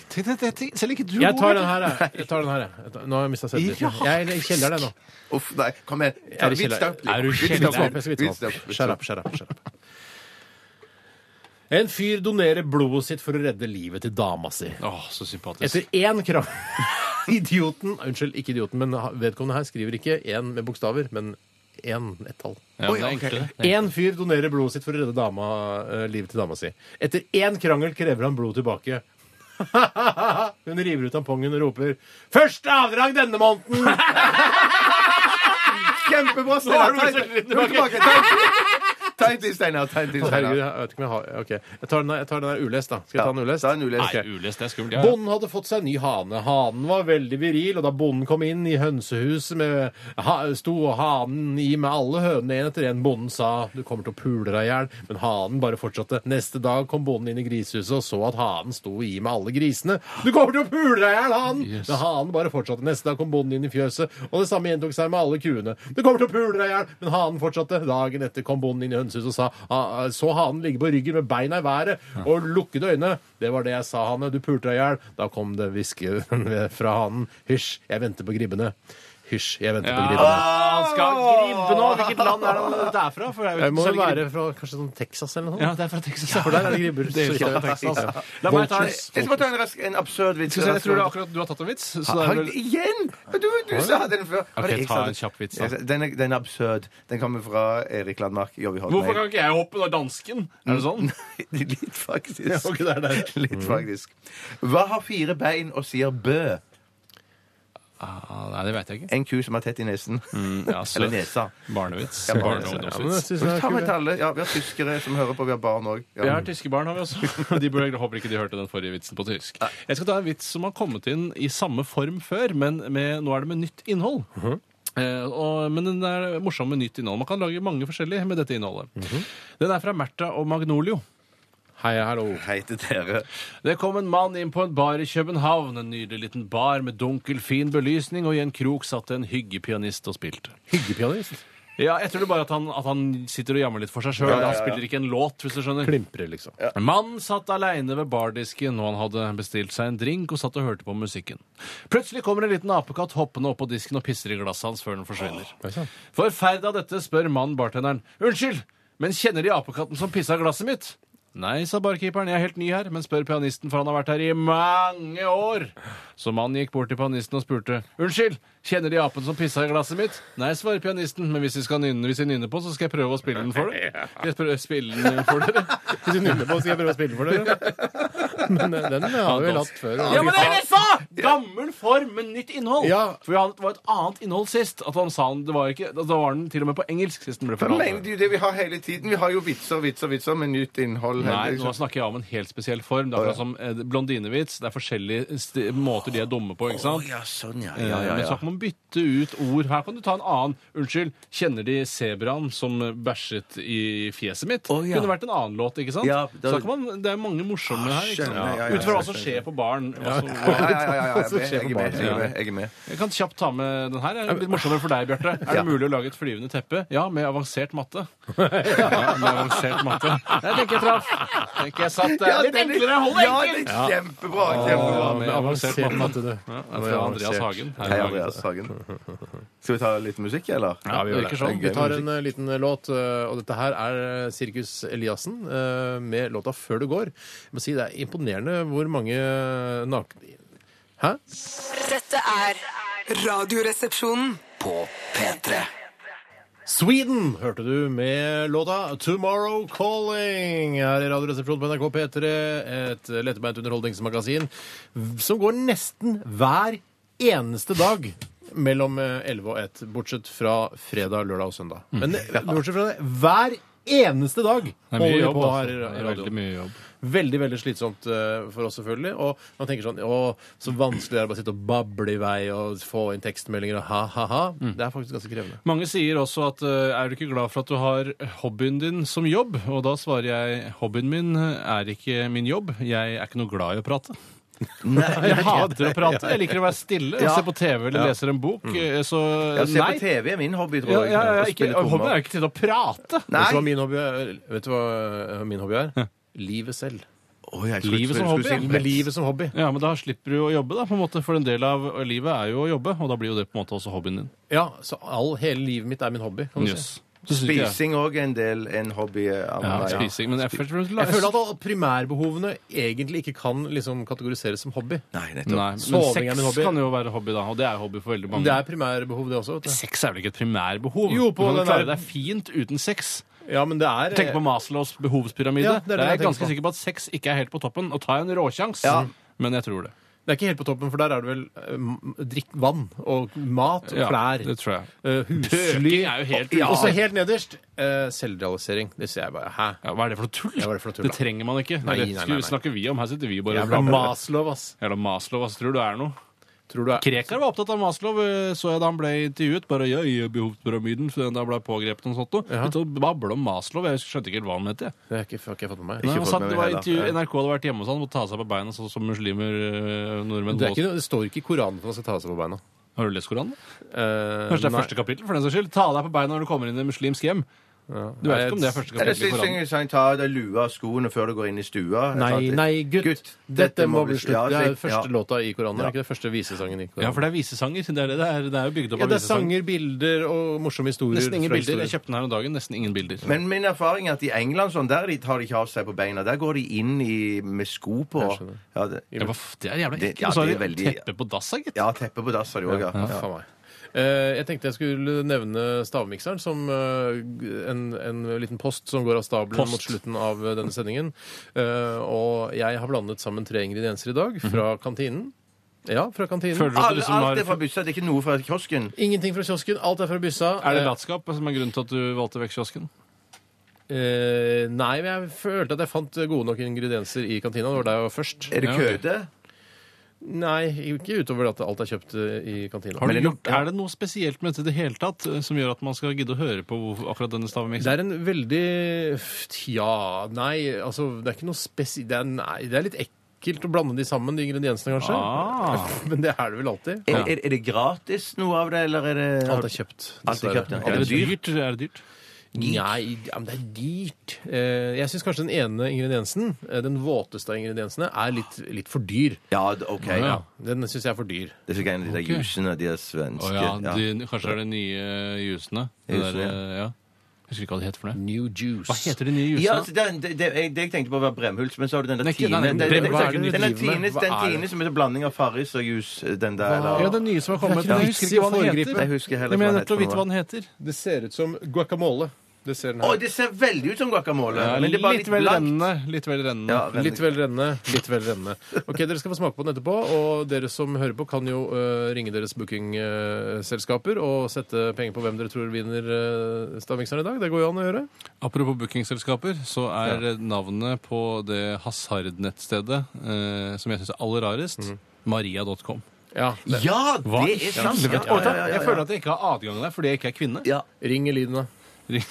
Selv ikke du Jeg tar den her, jeg. jeg, tar den her, jeg. jeg. tar- Nå har jeg mista selvtilliten. Jeg er i kjelleren, jeg nå. Uff, nei. Kom igjen. Jeg er i Vits da. kjelleren. Er du Vits kjelleren? da. Jeg skal opp, jeg skal Vits vits da. opp. Vits da. Shut up, shut up, shut up. En fyr donerer blodet sitt for å redde livet til dama si. Åh, så sympatisk. Etter én krangel (laughs) Idioten Unnskyld, ikke idioten, men vedkommende her skriver ikke én med bokstaver, men én ett tall. Ja, men det er enklere. Én fyr donerer blodet sitt for å redde dama, eh, livet til dama si. Etter én krangel krever han blod tilbake. (laughs) Hun river ut tampongen og roper 'Første avdrag denne måneden!' Kjempebra, Steinar. Nå har du Ta en- selvtilliten Nå tilbake. Ta en- Ta en til, Steinar. Ta en til, Herregud, Steinar. jeg vet ikke om jeg har Ok, jeg tar den, her- jeg tar den her ulest, da. Skal jeg ta den ulest? Ta en ulest. Nei, ulest. Det er skummelt. Ja. Ja. Bonden hadde fått seg en ny hane. Hanen var veldig viril, og da bonden kom inn i hønsehuset, med, ha, sto hanen i med alle hønene en etter en. Bonden sa 'du kommer til å pule deg i hjel', men hanen bare fortsatte. Neste dag kom bonden inn i grisehuset og så at hanen sto i med alle grisene. 'Du kommer til å pule deg i hjel, hanen!' Yes. Men hanen bare fortsatte. Neste dag kom bonden inn i fjøset, og det samme gjentok seg med alle kuene. 'Du kommer til å pule deg i hjel!' Men hanen fortsatte. Dagen etter kom bonden inn i hønsehuset og sa, ah, så hanen ligge på ryggen med beina i været og lukkede øyne. 'Det var det jeg sa, (laughs) hane. Du pulte deg i hjel.' Da kom det hviske fra hanen. 'Hysj, jeg venter på gribbene'. Hysj, jeg venter Ja, på gribben. han skal gribbe nå! Hvilket land er det dette er fra? For det er jo Jeg må ikke jo særlig gribbe. være fra kanskje sånn Texas eller noe Ja, sånt. det er fra Texas. For der er (laughs) det gribber. Det så vidt er jeg fra vet. Texas. Ja. La meg ta Vultures. Jeg skal bare ta en, rask, en absurd vits. Skal vi se, jeg tror det er akkurat sånn du har tatt en vits. Så det Har er jeg vel... igjen? Men Du, du sa den før. Var Ok, det jeg ta sa den? en kjapp vits, da. Jeg sa- Den er, den er absurd. Den kommer fra Erik Landmark. Jobber i Hotmail. Hvorfor kan ikke jeg hoppe når dansken? Er det (laughs) sånn? Litt, faktisk. Ja, ok, det er der. (laughs) Mm. Litt, faktisk. Hva har fire bein og sier bø? Ah, nei, det veit jeg ikke. En ku som er tett i nesen. Ja, altså, så- Eller nesa. Barnevits. Ja, Barne- barnevits. og Ja, men det ungdomsvits. synes jeg er Ta med kult. til alle. Ja, vi har tyskere som hører på. Vi har barn òg. Vi har tyske barn, har vi også. (laughs) De burde, jeg håper ikke de hørte den forrige vitsen på tysk. Jeg skal ta en vits som har kommet inn i samme form før, men med, nå er det med nytt innhold. Eh, og, men den er morsom med nytt innhold. Man kan lage mange forskjellige med dette innholdet. Den er fra Märtha og Magnolio. Hei, hallo. Hei til dere. Det kom en mann inn på en bar i København. En nydelig liten bar med dunkel, fin belysning, og i en krok satt en hyggepianist og spilte. Hyggepianist. Ja, jeg tror det bare at han, at han sitter og jammer litt for seg sjøl. Han spiller ikke en låt, hvis du skjønner. Klimprer, liksom. Mannen satt aleine ved bardisken, og han hadde bestilt seg en drink og satt og hørte på musikken. Plutselig kommer en liten apekatt hoppende opp på disken og pisser i glasset hans før den forsvinner. Oi, sant. Forferda av dette spør mannen bartenderen. Unnskyld, men kjenner De apekatten som pissa i glasset mitt? Nei, sa barkeeperen, jeg er helt ny her, men spør pianisten, for han har vært her i mange år. Så mannen gikk bort til pianisten og spurte. Unnskyld, kjenner De apen som pissa i glasset mitt? Nei, svarer pianisten, men hvis De skal nynne, hvis de nynner på, så skal jeg prøve å spille den for dere. Skal Jeg prøve å spille den for dere. Hvis du nynner på, skal jeg prøve å spille for dere. Men eh, den har vi vel hatt før. Ja, men det er det jeg sa! Gammel form, men nytt innhold. Ja. For vi hadde- det var et annet innhold sist. At han sa han, det var ikke, Da var den til og med på engelsk sist den ble Men fortalt. det er jo det vi har hele tiden. Vi har jo vitser, vitser, vitser med nytt innhold. Nei, Hele- nå snakker jeg om en helt spesiell form. Det er akkurat som eh, blondinevits. Det er forskjellige sti- måter de er dumme på, ikke sant? Å, ja, sånn, ja. Eh, ja, ja, Men ja. så kan man bytte ut ord. Her kan du ta en annen. Unnskyld, kjenner de sebraen som bæsjet i fjeset mitt? Å, ja. Kunne vært en annen låt, ikke sant? Ja, da- Ah, Så da kan man, det er mange morsomme her. ikke sant? skjønner, ja, ja, Ut fra ja, hva som skjer på baren. hva som- Ja, ja, ja, ja, ja. Hva som skjer Jeg er på med. barn. Jeg er med. Jeg er med. Jeg kan kjapt ta med den her. Er det Litt morsommere for deg, Bjarte. Er det mulig å lage et flyvende teppe? Ja, med avansert matte. (laughs) Ja, med avansert matte. Jeg tenker jeg traff. Tenker jeg satt der. Litt den er- enklere, hold Ja, det det enkelt! er kjempebra. kjempebra. med Med avansert avansert matte, du. Ja, det er fra Andreas Hagen. Her Hei, i dag. Andreas Hagen. Skal vi ta litt musikk, eller? Ja, det virker sånn. Vi tar en eh, liten eh, låt, eh, og dette her er eh, Sirkus Eliassen eh, med låta 'Før du går'. Jeg må si Det er imponerende hvor mange eh, nakne Hæ? Dette er Radioresepsjonen. På P3 Sweden hørte du med låta 'Tomorrow Calling' her i Radioresepsjonen på NRK P3. Et lettbeint underholdningsmagasin som går nesten hver eneste dag. Mellom eh, 11 og 1, bortsett fra fredag, lørdag og søndag. Men eh, bortsett fra det, hver eneste dag Mm. Det er holder mye vi jobb, på her i altså. ra- Det i er radioen. Veldig mye jobb. Veldig veldig slitsomt eh, for oss, selvfølgelig. Og man tenker sånn Å, så vanskelig det er å bare sitte og bable i vei og få inn tekstmeldinger og ha-ha-ha. Mm. Det er faktisk ganske krevende. Mange sier også at eh, er du ikke glad for at du har hobbyen din som jobb? Og da svarer jeg hobbyen min eh, er ikke min jobb. Jeg er ikke noe glad i å prate. jeg hater å prate. Jeg liker å være stille, Ja. se på TV eller leser en bok. eh, Så Ja, se på nei. TV er min hobby, Ja, tror jeg. ja, ja, Å ikke, spille trommer. hobbyen er jo ikke til å prate. Vet du hva Nei! min hobby er? Vet du hva eh, min hobby er? Livet selv. Å, jeg skulle- Livet skulle- som skulle hobby, si- ja. Med livet som hobby. Ja, men da slipper du å jobbe, da, på en måte. For en del av livet er jo å jobbe, og da blir jo det på en måte også hobbyen din. Ja, så all, hele livet mitt er min hobby. Kan du si. Yes. Så synes ikke jeg- Spising òg er en del en hobby. av Ja, meg. spising. Men jeg, først, Jeg føler at alle primærbehovene egentlig ikke kan liksom kategoriseres som hobby. Nei, nettopp. Nei, men Soving er min sex hobby. kan jo være hobby, da. Og det er hobby for veldig mange. Det er primærbehov, det også. vet du. Sex er vel ikke et primærbehov? Jo, på du kan den jo klare der- deg fint uten sex. Ja, men det er Tenk på Maslows behovspyramide. Ja, det er det det er jeg jeg tenker ganske på. sikker på at sex ikke er helt på toppen. Og ta en råsjans. Men jeg tror det. eh, Det er ikke helt på toppen, for der er det vel eh, m- drikk vann og mat og Ja, klær. det tror jeg. eh, husly. Pøking er jo helt Og- ja. ute. Og så helt nederst eh, selvrealisering. Det ser jeg bare Hæ? Ja, hva er det for noe tull? Ja, hva er det for noe tull, da? trenger man ikke. Nei, det nei, nei, skulle- nei. snakker vi om. Her sitter vi bare og Jævla blander. Maslov, ass. Jævla Maslow, hva tror du er noe? Tror du er Krekar var opptatt av Maslow, eh, så jeg da han ble intervjuet. Bare ja, i behovspyramiden, for da ble jeg pågrepet og sånt noe. Ja. Begynte å bable om Maslow. Jeg skjønte ikke helt hva han mente. jeg. Det har jeg ikke, har ikke jeg fått med meg. Nei, altså, han fått satt, med det meg var heller. intervju, NRK hadde vært hjemme hos han og ta seg på beina, sånn som muslimer, eh, nordmenn Det, er ikke, noe- det står ikke i Koranen at man skal ta seg på beina. Har du lest Koranen? Eh, Kanskje det er nei. første kapittel, for den saks skyld. Ta deg på beina når du kommer inn i et muslimsk hjem. Du vet ikke om det er første Eller kapittel i Koranen. synger sang ta av deg lua og skoene før du går inn i stua. Nei, Sant? nei, gutt, dette må bli slutt. Ja, Det er sant? første Ja. låta i Koranen, er det ikke det første visesangen i Ja, Koranen? for det er visesanger. Det er, det det er, det er jo bygd opp Ja, av det er visesanger. sanger, bilder og morsomme historier. Nesten ingen fra bilder. Jeg historien. kjøpte den her om dagen. Nesten ingen bilder. Men min erfaring er at i England sånn, der de tar de ikke av seg på beina. Der går de inn i, med sko på. Jeg skjønner. Ja, det, Ja, hva f- det er jævla Det- ekkelt. ja, Og så har det de er veldig- teppe på dassa, gitt. ja teppe på dass har de òg, ja. Ja, faen meg. Eh, Jeg tenkte jeg skulle nevne stavmikseren som eh, en, en liten post som går av stabelen Post. mot slutten av eh, denne sendingen. Eh, Og jeg har blandet sammen tre ingredienser i dag fra kantinen. Ja, fra kantinen. Mhm. Føler du at du Alle, liksom alt har er fra byssa, det er ikke noe fra kiosken. Ingenting fra kiosken. Alt er fra byssa. Er det Eh, latskap som er grunnen til at du valgte vekk kiosken? Eh, nei, men jeg følte at jeg fant gode nok ingredienser i kantina. Det var der jeg var først. Er det Ja, ok. køte? Nei, ikke utover at alt er kjøpt eh, i kantina. Har du Men det- gjort, er det noe spesielt med dette i det hele tatt eh, som gjør at man skal gidde å høre på hvor- akkurat denne Det stavmiksen? er en veldig Tja, nei, altså Det er ikke noe spesi... Det er, nei, det er litt ekkelt å blande de sammen, de ingrediensene, kanskje. Ah. (laughs) Men det er det vel alltid. Er, er, er det gratis noe av det, eller er det Alt er kjøpt. Alt er kjøpt, ja. dessverre. Er det det dyrt? dyrt? Er det dyrt? Nei, ja, men det er dyrt. Eh, Jeg syns kanskje den ene ingrediensen, eh, den våteste av ingrediensene, er litt, litt for dyr. Ja, d- OK. Ja. Ja. Den syns jeg er for dyr. Det er så gøy de der Ok. jusene, de er svenske. Å ja, ja. de, kanskje det er de nye jusene. Det Jusene, der, eh, ja. Jeg husker ikke hva de heter for noe. New juice. Hva heter de nye Ja, jusene? altså, den- det, det, jeg, det jeg tenkte på var Bremhuls, men så har du den der Nei, ikke- Tine. nei, nei, Den Brem- den- hva er det den- du den driver med? Tines- Hva den er det? Tine som er en blanding av Farris og jus, eh, den der. eller- Ja, den nye som har kommet. Det er ikke men Jeg husker ikke hva den foregripende. heter. Jeg husker heller Nei, men hva den jeg er nødt til å heter vite for hva den heter. Det ser ut som guacamole. Det ser den Å, her. det ser veldig ut som guacamole. men det er bare litt litt vel blankt. rennende. Litt vel rennende. Ja, vel- Litt vel rennende. Litt vel rennende. Ok, Dere skal få smake på den etterpå. Og dere som hører på, kan jo øh, ringe deres bookingselskaper og sette penger på hvem dere tror vinner uh, Stavmikseren i dag. Det går jo an å gjøre. Apropos bookingselskaper, så er navnet på det hasardnettstedet eh, som jeg syns er aller rarest, maria.com. Ja, det. Ja, Hva Mhm. det i er sant! helvete? Ja, ja, ja, ja, Jeg føler at jeg ikke har adgang der fordi jeg ikke er kvinne. ja. Ring Elina. Jeg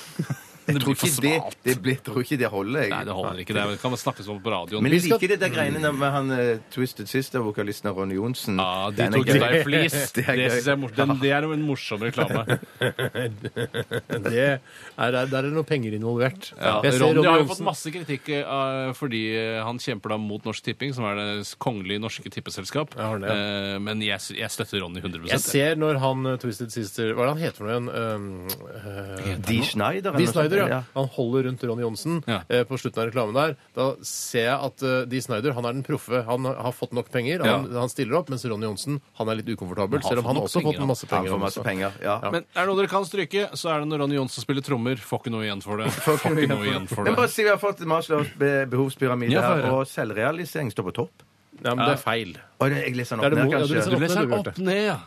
Jeg tror ikke det, det, blir- tror ikke det holder, jeg. Nei, det holder ikke. Det er- kan man snakkes om på radioen. Men jeg skal- liker det der greiene med han eh, Twisted Sister, vokalisten av Ronny Johnsen. ja, de Den er tok gøy. til deg flis. (laughs) Det Det, er gøy. synes jeg er mors- den- det er jo en (laughs) morsom reklame. Det er, der er det noe penger involvert. Ja, Jeg ser Ronny har jo Johnsen. fått masse kritikk eh, fordi han kjemper da mot Norsk Tipping, som er det kongelige norske tippeselskap. Ja, har han det, ja. Eh, Men jeg, s- jeg støtter Ronny 100 Jeg ser når han eh, Twisted Sister Hva er det han heter for noe igjen? Um, øh, Dee Snyder. eller Dee noe Snyder, sånt, ja. Han holder rundt Ronny Johnsen Ja. eh, på slutten av reklamen der. Da ser jeg at eh, Dee Snyder han er den proffe. Han har fått nok penger, han, han stiller opp, mens Ronny Johnsen han er litt ukomfortabel, selv om Han har fått han nok også har penger, Han fått masse penger. får masse også. penger. Ja. Men er det noe dere kan stryke, så er det når Ronny Johnsen spiller trommer. Får ikke noe igjen for det. Får ikke noe igjen for Men bare det. si vi har fått Maslows be- behovspyramide Ja, få her, høre. og selvrealisering står på topp. Nei, men det er feil. Og det, jeg leser den Det er opp det ned, mot- ja, du kanskje. leser Du leser den opp ned, ja.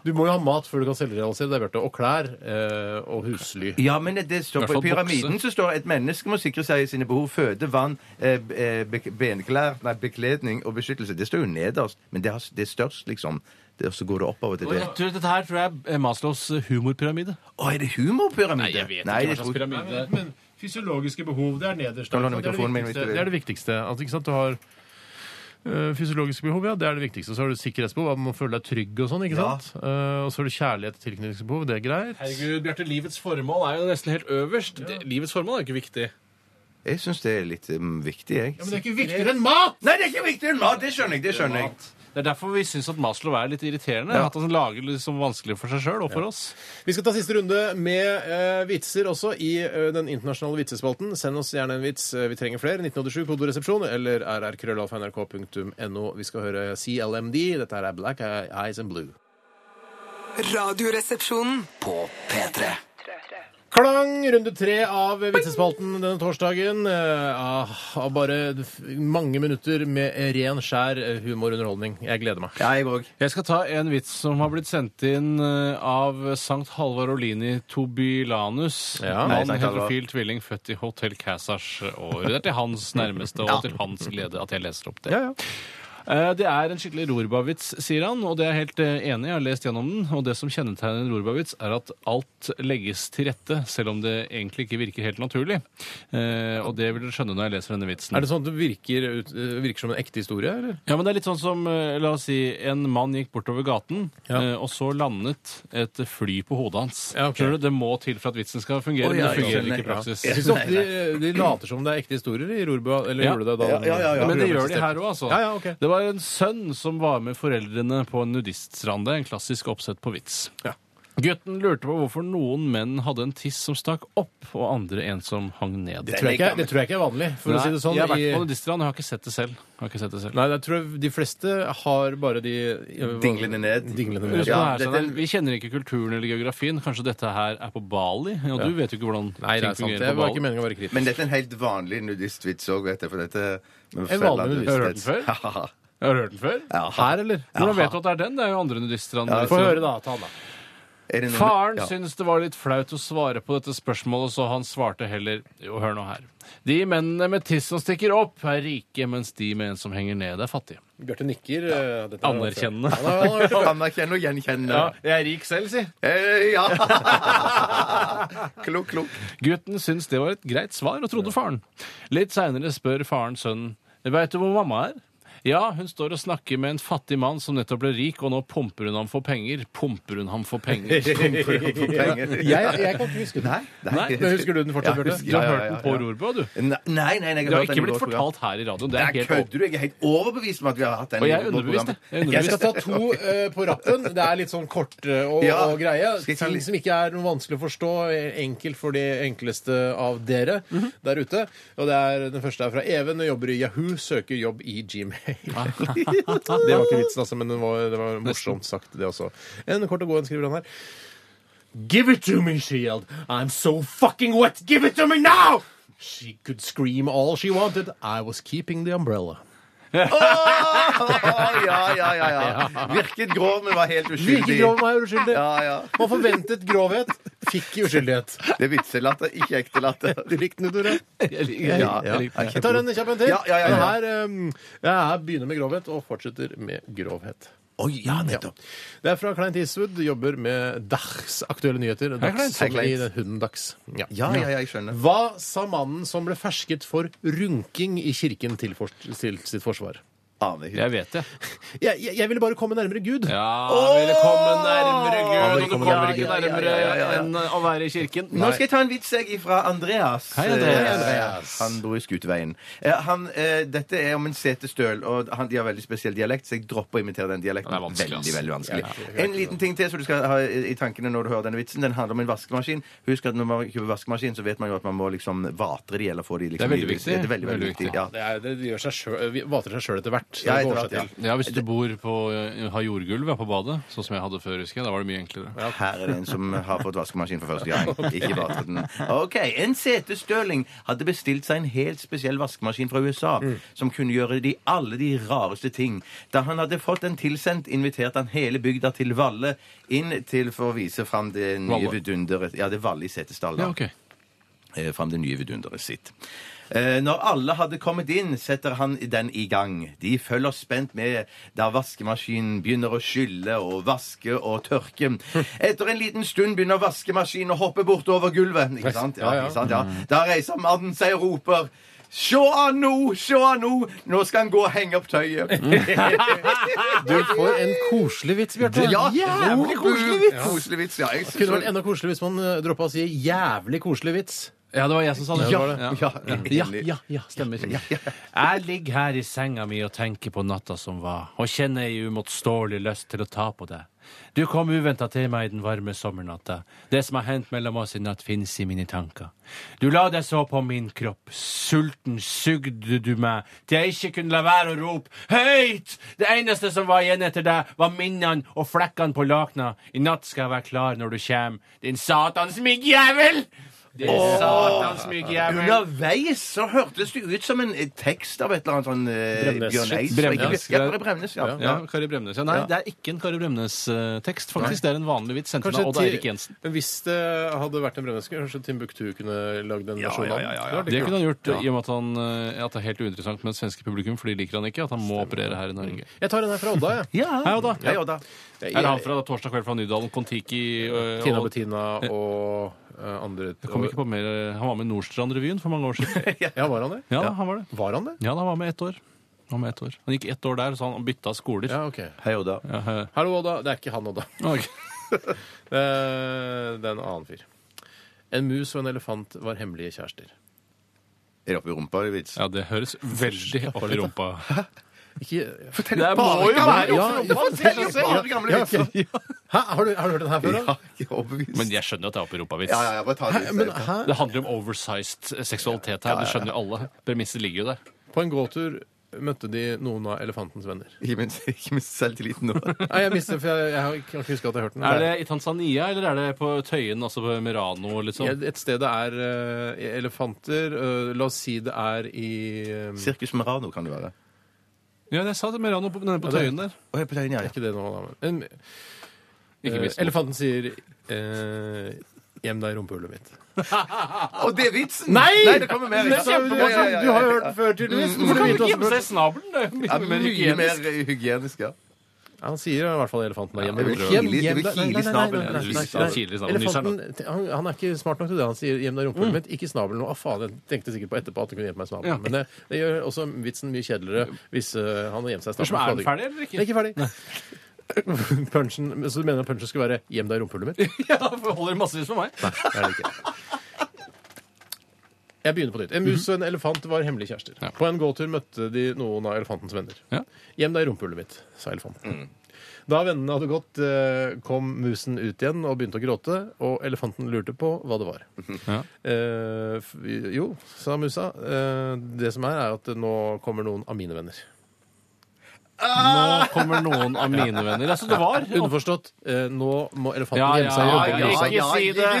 Du må jo ha mat før du kan selvrealisere deg, Bjarte. Og klær eh, og husly. Ja, men det, det står hvert fall på pyramiden bokse. så står det et menneske må sikre seg i sine behov føde, vann, eh, eh, bek- benklær, nei, bekledning og beskyttelse. Det står jo nederst, men det, har, det er størst, liksom. Det, og så går det oppover til Og det. jeg tror, dette her tror jeg er Maslows eh, humorpyramide. Å, er det humorpyramide? Nei, jeg vet Nei, ikke hva jeg slags tror- pyramide det er. Men fysiologiske behov, det er nederst. Kan du Det låne er det mikrofonen min hvis du viktigste. vil? Det er det viktigste. Altså, ikke sant? Du har eh, fysiologiske behov, ja, det er det viktigste. Så har du sikkerhetsbehov, at man må føle deg trygg og sånn. ikke Ja. sant? Eh, og så har du kjærlighet og tilknytningsbehov, det er greit. Herregud, Bjarte, livets formål er jo nesten helt øverst. Det- Livets formål er jo ikke viktig. Jeg syns det er litt um, viktig, jeg. Men det er ikke viktigere enn mat! Nei, det er ikke viktig! Ja, det skjønner jeg. det skjønner jeg. Det er derfor vi syns at Maslow er litt irriterende. Ja. At han lager det liksom vanskelig for seg sjøl og for oss. Vi skal ta siste runde med eh, vitser også i eh, den internasjonale vitsespalten. Send oss gjerne en vits. Eh, Vi trenger flere. 1987, kodoresepsjon eller rrkrøllalfa.nrk.no. Vi skal høre CLMD. Dette her er Black Eyes and Blue. Radioresepsjonen. På P3 Klang! Runde tre av vitsespalten denne torsdagen. Eh, ah, av bare f- mange minutter med ren, skjær eh, humorunderholdning. Jeg gleder meg. Ja, jeg òg. Jeg skal ta en vits som har blitt sendt inn eh, av Sankt Halvard Olini Tobylanus. Ja. Hei, Mann, Sankt Halvard. heterofil tvilling, født i (laughs) Hotel Casars år. Det er til hans nærmeste og til hans glede at jeg leser opp det. Eh, Det er en skikkelig rorbavits, sier han, og det er jeg helt eh, enig i. Jeg har lest gjennom den, og det som kjennetegner en rorbavits, er at alt legges til rette, selv om det egentlig ikke virker helt naturlig. Eh, Og det vil dere skjønne når jeg leser denne vitsen. Er det sånn at det virker, ut, eh, virker som en ekte historie, eller? Ja, men det er litt sånn som, eh, la oss si, en mann gikk bortover gaten, Ja. eh, og så landet et fly på hodet hans. Ja, ok. Skjønner du? Det må til for at vitsen skal fungere, Å, men ja, det fungerer ja, ikke i praksis. Jeg synes ofte de, de later som det er ekte historier i Rorba, eller Ja. gjorde det da? Ja, ja, ja, ja. Men det gjør de her òg, altså. Ja, ja, ok. Det var en sønn som var med foreldrene på en nudiststrand. Det er en klassisk oppsett på vits. Ja. Gutten lurte på hvorfor noen menn hadde en tiss som stakk opp, og andre en som hang ned. Det tror, jeg ikke, det tror jeg ikke er vanlig, for å si det sånn. jeg har vært i- på nudiststrand, jeg har ikke sett det selv. Jeg har ikke sett det selv. Nei, jeg tror de fleste har bare de eh, Dinglene ned. Dinglene Ja, ned. Husk på det sånn her, dette- Steinar. vi kjenner ikke kulturen eller geografien. Kanskje dette her er på Bali? Og du vet jo ikke hvordan Nei, det ting er sant. fungerer Det på var Bali. ikke meningen å være kritisk. Men dette er en helt vanlig nudistvits òg, vet jeg. For dette med En fella vanlig nudist. Har du hørt den før? Haha. Har du hørt den før? Her, eller? Hvordan vet du at det er den? Det er jo andre nudiststrander. Få høre, da. Ta den, da. Er det noen- Faren Ja. syntes det var litt flaut å svare på dette spørsmålet, så han svarte heller Jo, hør nå her. De mennene med tiss som stikker opp, er rike, mens de med en som henger ned, er fattige. Bjarte nikker. eh, dette er- Anerkjennende. Ja, da- da- da- Anerkjenn og gjenkjenn. Ja. jeg er rik selv, si. Eh, ja. (laughs) klok, klok. Gutten syntes det var et greit svar, og trodde faren. Litt seinere spør faren sønnen Veit du hvor mamma er? Ja, hun står og snakker med en fattig mann som nettopp ble rik, og nå pumper hun ham for penger. Pumper hun ham for (laughs) penger. Penger. Jeg, jeg kan ikke huske den. Nei, Nei, Men husker du den Ja, fortsatt, Bjarte? husker- Du har ja, hørt ja, den ja, på ja. Rorba, du. Nei, nei, nei, jeg Det har hørt den ikke i blitt vårt program. fortalt her i radioen. Nei, Det er helt kødder du? Jeg er helt overbevist om at vi har hatt den. Og i jeg er vårt underbevist, program. jeg. Jeg er Jeg underbevist. skal ta to eh, på rappen. Det er litt sånn korte og, Ja. og greie. Skal jeg ta Ting litt- som ikke er noe vanskelig å forstå. eh, Enkelt for de enkleste av dere der ute. Og det er, Den første er fra Even og jobber i Yahoo. Søker jobb i Gmail. (laughs) det var ikke vitsen, altså, men det var, det var morsomt sagt, det også. En kort og god en, skriver han her. Give it to me, Shield! I'm so fucking wet! Give it to me now! She could scream all she wanted. I was keeping the umbrella. Å, ja, ja, ja, (laughs) ja. Virket grov, men var helt uskyldig. Virket grov, meg uskyldig. Ja, ja. Man forventet grovhet, fikk uskyldighet. Det er vitselatter, ikke ekte latter. Du likte den, Tore? Jeg liker det. Ja, Jeg liker det. Jeg tar en kjapp en til. Ja, ja, ja, ja. Den Her, ehm, jeg her begynner med grovhet og fortsetter med grovhet. Oi, ja, Ja. Det er fra Kleint Eastwood, jobber med Dachs aktuelle nyheter. Kleint. Dags, som Hei, i Kleint. hunden Dags. Ja. Ja, ja, ja, jeg skjønner. Hva sa mannen som ble fersket for runking i kirken til, for, til sitt forsvar? Aner ikke. Jeg vet det. Jeg, jeg, jeg ville bare komme nærmere Gud. Ja, ville komme nærmere Ja, Gud, ville og du komme kommer nærmere ikke Gud. nærmere Ja, ja, ja, ja, ja. enn å være i kirken. Nå skal jeg ta en vits jeg fra Andreas. Hei, Andreas. Eh, Han bor i Skuteveien. Eh, Han, eh, dette er om en setestøl, og han, de har veldig spesiell dialekt, så jeg dropper å imitere den dialekten. Det er vanskelig, ass. veldig, veldig vanskelig. en liten ting til som du skal ha i i tankene når du hører denne vitsen. Den handler om en vaskemaskin. Husk at når man kjøper vaskemaskin, så vet man jo at man må liksom vatre de, eller få de liksom Det er veldig i- viktig. Det er veldig, veldig Veldig viktig. viktig. Ja. Det, er, det gjør seg selv, vi vater seg sjøl etter hvert. Så Ja, det etter går hvert, seg til. Ja, hvis du bor på, eh, har jordgulv ja, på badet, sånn som jeg hadde før, husker jeg, da var det mye enklere. Her er det en som har fått vaskemaskin for første (laughs) gang. Ikke bare den. Ok, En setestøling hadde bestilt seg en helt spesiell vaskemaskin fra USA Mm. som kunne gjøre de, alle de rareste ting. Da han hadde fått den tilsendt, inviterte han hele bygda til Valle inn til for å vise fram det nye Valle. vidunderet Ja, det er Valle i Setesdal, da Ja, ok. eh, fram det nye vidunderet sitt. Eh, Når alle hadde kommet inn, setter han den i gang. De følger spent med da vaskemaskinen begynner å skylle og vaske og (laughs) tørke. Etter en liten stund begynner vaskemaskinen å hoppe bortover gulvet. Ikke sant? Ja, Ja, Mm. ja. ikke sant? Ja. Da reiser mannen seg og roper Sjå han nå! Sjå han nå! Nå skal han gå og henge opp tøyet. (laughs) Du får en koselig vits, Bjarte. Ja, jævlig koselig vits! Koselig vits, ja. Jeg Kunne vært enda koseligere hvis man droppa å si 'jævlig koselig vits'. Ja, det var jeg som sa det. Ja, ja, ja, ja, ja, stemmer. Jeg ligger her i senga mi og tenker på natta som var, og kjenner ei uimotståelig lyst til å ta på deg. Du kom uventa til meg i den varme sommernatta. Det som har hendt mellom oss i natt, finnes i mine tanker. Du la deg så på min kropp, sulten sugde du meg, til jeg ikke kunne la være å rope høyt! Det eneste som var igjen etter deg, var minnene og flekkene på lakena. I natt skal jeg være klar når du kjem, din satans myggjævel! Det er satans myggjævel. Underveis så hørtes det ut som en eh, tekst av et eller annet sånn eh, Bremnes. Bjørn Eids. Bremnes. Ja, Kari Bremnes, ja. Ja, Kari Bremnes. Ja, nei, det er ikke en Kari Bremnes-tekst, faktisk. Det er en vanlig vits sendt Kanskje av Odd Ti- Eirik Jensen. Men hvis det hadde vært en brødneske, kanskje Timbuktu kunne lagd en versjon av den? Det kunne han gjort, i og med at, han, eh, at det er helt uinteressant med det svenske publikum, for de liker han ikke. At han må operere her i Norge. Jeg tar en her fra Odda, (laughs) jeg. Hei, Odd, da. Hei, Odda. Er det han fra Torsdag kveld fra Nydalen, Kon-Tiki eh, Tina og- Bettina og eh, andre Jeg kom ikke på mer. eh, Han var med i Nordstrand-revyen for mange år (laughs) siden. (laughs) Ja, var han det? Ja, han var det. Var han det? Ja, han var med ett år. Han, var med ett år. han gikk ett år der, så han bytta skoler. Ja, OK. Hei, Odda. Ja, eh, he- Hallo, Odda. Det er ikke han, Odda. (laughs) Ok. Eh, Det er en annen fyr. En mus og en elefant var hemmelige kjærester. Er det oppi rumpa, det vits? ja det høres veldig opp i rumpa. (laughs) Ikke Fortell Det må jo være oppi rumpa, Fortell jo bare gamle Ja, vitser! ok. Hæ? Har, du, har du hørt den her før? da? Ja, jeg er overbevist. Men jeg skjønner jo at det er opp i rumpa-vits. Ja, ja, ja, bare ta det. i Men stedet. hæ? Det handler om oversized seksualitet her. Det skjønner jo alle. Premisset ligger jo der. På en gåtur møtte de noen av elefantens venner. Ikke minst- Ikke minst selvtilliten nå. Nei, jeg mister, for jeg, jeg har ikke- kan ikke huske at jeg har hørt den. Er det i Tanzania, eller er det på Tøyen, altså på Merano, liksom? Et- Et sted det er eh, elefanter eh, La oss si det er i eh, Sirkus Merano kan det være. Ja, jeg sa det Merano på, nede på Ja, det- Tøyen der. Å, jeg er på tegn, ja. Ikke det nå, da. Men, Ikke eh, mist noe. elefanten sier eh, 'Gjem deg i rumpehullet mitt'. Og det er vitsen! Nei! Nei, det kommer mer. Det er kjempemorsomt. Ja, ja, ja, ja. Du har jo hørt den før, tydeligvis. Hvorfor kan du ikke gjemme seg i snabelen? Det er Ja, mye mer mye hygienisk. mer eh, hygienisk, ja. Ja, han sier i hvert fall elefanten er hjemme. det vil Hjem, kile- det hjem vil deg- nei, kile nei, nei, nei, snabelen. nei, Ja, det vil nei, kile nei. snabelen. Nyseren Elefanten- Han, han er ikke smart nok til det. Han sier 'gjem deg i rumpehullet mitt', ikke i snabelen. Å, faen, jeg tenkte sikkert på etterpå at han kunne gjemt meg i snabelen. Mm. Ja. Men det, det gjør også vitsen mye kjedeligere hvis eh, han har gjemt seg i Hva som er den snabelen. ferdig, eller Det er ikke? ikke ferdig. (laughs) Punchen, men så du mener at punchen skulle være 'gjem deg i rumpehullet mitt'? Ja, for holder det massevis for meg. Nei, det er det ikke. Jeg begynner på nytt. En mus og en elefant var hemmelige kjærester. Ja. På en gåtur møtte de noen av elefantens venner. Ja. Mm. 'Gjem deg i rumpehullet mitt', sa elefanten. Da vennene hadde gått, eh, kom musen ut igjen og begynte å gråte, og elefanten lurte på hva det var. Ja. Eh, f- jo, sa musa, eh, det som er, er at nå kommer noen av mine venner. Nå kommer noen av mine venner. Altså, det var Underforstått, eh, nå må elefanten Ja, gjemme seg i ja, rumpehullet. ja, mitt, sa ja. Ikke si det. Ikke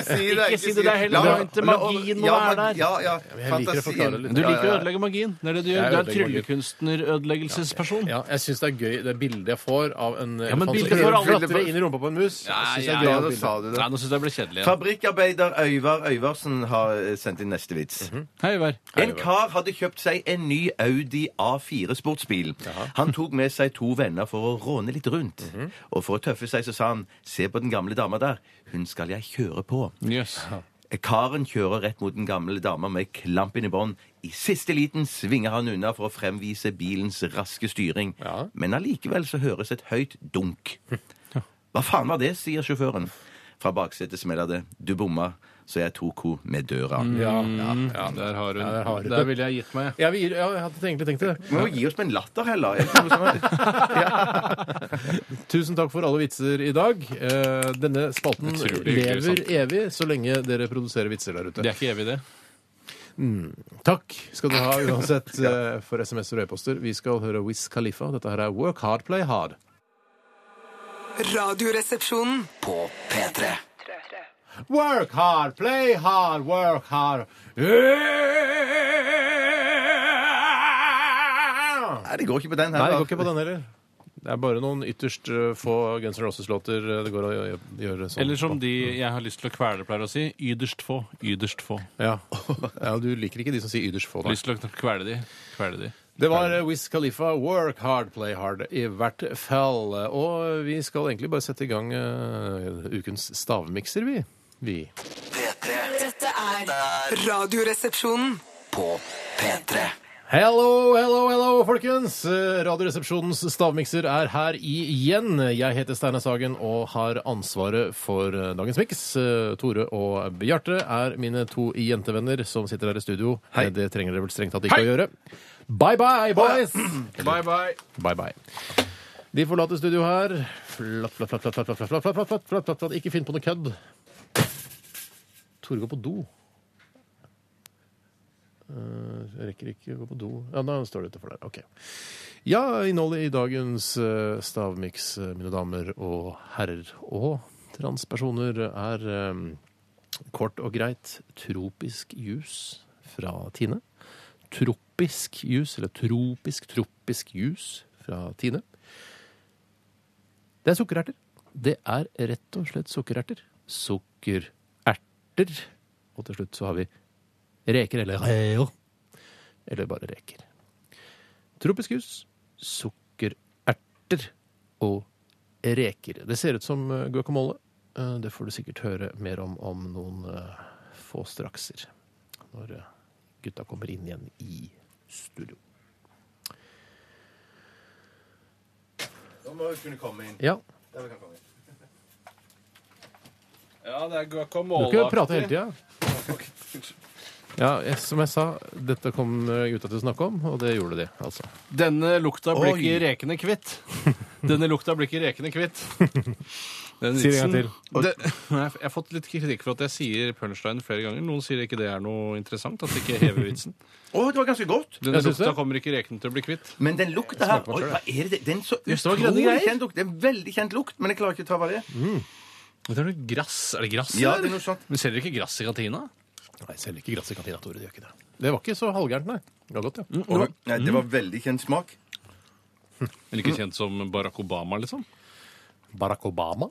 si det, det er helt La- bra, ikke la- magien må ja, mag- være der. Ja, ja. jeg liker å forklare litt. Du liker å ødelegge magien. Det er det du Jeg gjør. Du er en ødelegger magien. tryllekunstnerødeleggelsesperson. Ja, jeg syns det er gøy det bildet jeg får av en eh, Ja, men elefant som bildet får alle. klatrer inn i rumpa på en mus. Jeg Ja, synes ja, det er Ja, gøy da bildet. sa du det. Nei, nå syns jeg det ble kjedelig. igjen. Fabrikkarbeider Øyvar Øyvarsen har eh, sendt inn neste vits. Mhm. Hei, Ivar. En kar hadde kjøpt seg en ny Audi A4 sportsbil. Han tok med seg to venner for å råne litt rundt. Og for å tøffe seg så sa han 'Se på den gamle dama der. Hun skal jeg kjøre på'. Jøss. Karen kjører rett mot den gamle dama med klampen i bånd. I siste liten svinger han unna for å fremvise bilens raske styring. Men allikevel så høres et høyt dunk. Hva faen var det, sier sjåføren. Fra baksetet smeller det. Du bomma, så jeg tok ho med døra. Ja, Mm. ja. Der har hun. der har hun. Der ville jeg gitt meg. Jeg, vil, ja, jeg hadde egentlig tenkt det. Vi må jo gi oss med en latter heller. Er det ikke noe sånn at- Tusen takk for alle vitser i dag. Eh, Denne spalten Utrolig hyggelig, lever sant. evig så lenge dere produserer vitser der Det ute. er ikke evig, det. Takk skal du ha uansett eh, for SMS og rødposter. Vi skal høre Wiz Khalifa. Dette her er Work Hard Play Hard. Radioresepsjonen. På P3. Work hard, play hard, work hard. Nei, Nei, det går ikke på den heller. det går ikke på den heller. Det er bare noen ytterst eh, få Guns N' Roses-låter eh, det går å gjø- gjøre sånn. Eller som på. de jeg har lyst til å kvele pleier å si, yderst få, yderst få. ja. (laughs) ja, du liker ikke de som sier ytterst få, da. Lyst til å kvele de, kvele de. Det var eh, Wiz Khalifa, work hard, play hard, i hvert fall. Og vi skal egentlig bare sette i gang eh, ukens stavmikser, vi. Vi. P3. Dette er Radioresepsjonen. På P3. Hello, hello, hello, folkens! Eh, Radioresepsjonens stavmikser er her igjen. Jeg heter Steinar Sagen og har ansvaret for eh, dagens miks. Eh, Tore og Bjarte er mine to jentevenner som sitter her i studio. Hei. Det trenger dere vel strengt tatt ikke å gjøre. Bye bye, boys! Bye, bye. Bye bye. De forlater studio her. Flatt, flatt, flatt, flatt, flatt, flatt, flatt, flatt, flatt, flatt, flatt, flatt, flatt. Ikke finn på noe kødd. Tore går på do. Eh, Jeg rekker ikke å gå på do. Ja, da står det utenfor der. Ok. Ja, innholdet i dagens eh, stavmiks, eh, mine damer og herrer og transpersoner, er eh, Kort og greit tropisk jus fra Tine. Tropisk jus, eller tropisk, tropisk jus fra Tine. Det er sukkererter. Det er rett og slett sukkererter. Sukkererter. Og til slutt så har vi reker, eller reo. Eller bare reker. Tropisk jus, sukkererter og reker. Det ser ut som eh, guacamole. Eh, Det får du sikkert høre mer om om noen eh, få strakser. Når eh, gutta kommer inn igjen i studio. Da må vi kunne komme inn. Ja, Da vi kan komme inn. (laughs) Ja, det er Du guacamole. kan jo prate hele tida. Ja, jeg- som jeg sa, dette kom eh, gutta til å snakke om, og det gjorde de, altså. Denne lukta blir Oi. ikke rekene kvitt. Denne lukta blir ikke rekene kvitt. Den Si det en gang vitsen- til. Det, Nei, jeg har fått litt kritikk for at jeg sier punchline flere ganger. Noen sier ikke det er noe interessant, at det ikke hever (laughs) vitsen. Å, det var ganske godt! Denne Jeg synes lukta det. kommer ikke rekene til å bli kvitt. Men den lukta her på Oi, selv, hva er det? Den er så Jøss, det var grønne utrolig greier. kjent lukt. Det er en veldig kjent lukt, men jeg klarer ikke å ta hva det er. Det er noe grass. Er det grass? Ja, eller? det er noe sånt. Men selger ikke grass i kantina? Nei, selv ikke Grasse kantina, Tore. Det gjør ikke det. Mm. Det var ikke så halvgærent, nei. Det var godt, ja. Oi, Nei, det var veldig kjent smak. Eller ikke kjent som Barack Obama, liksom? Barack Obama.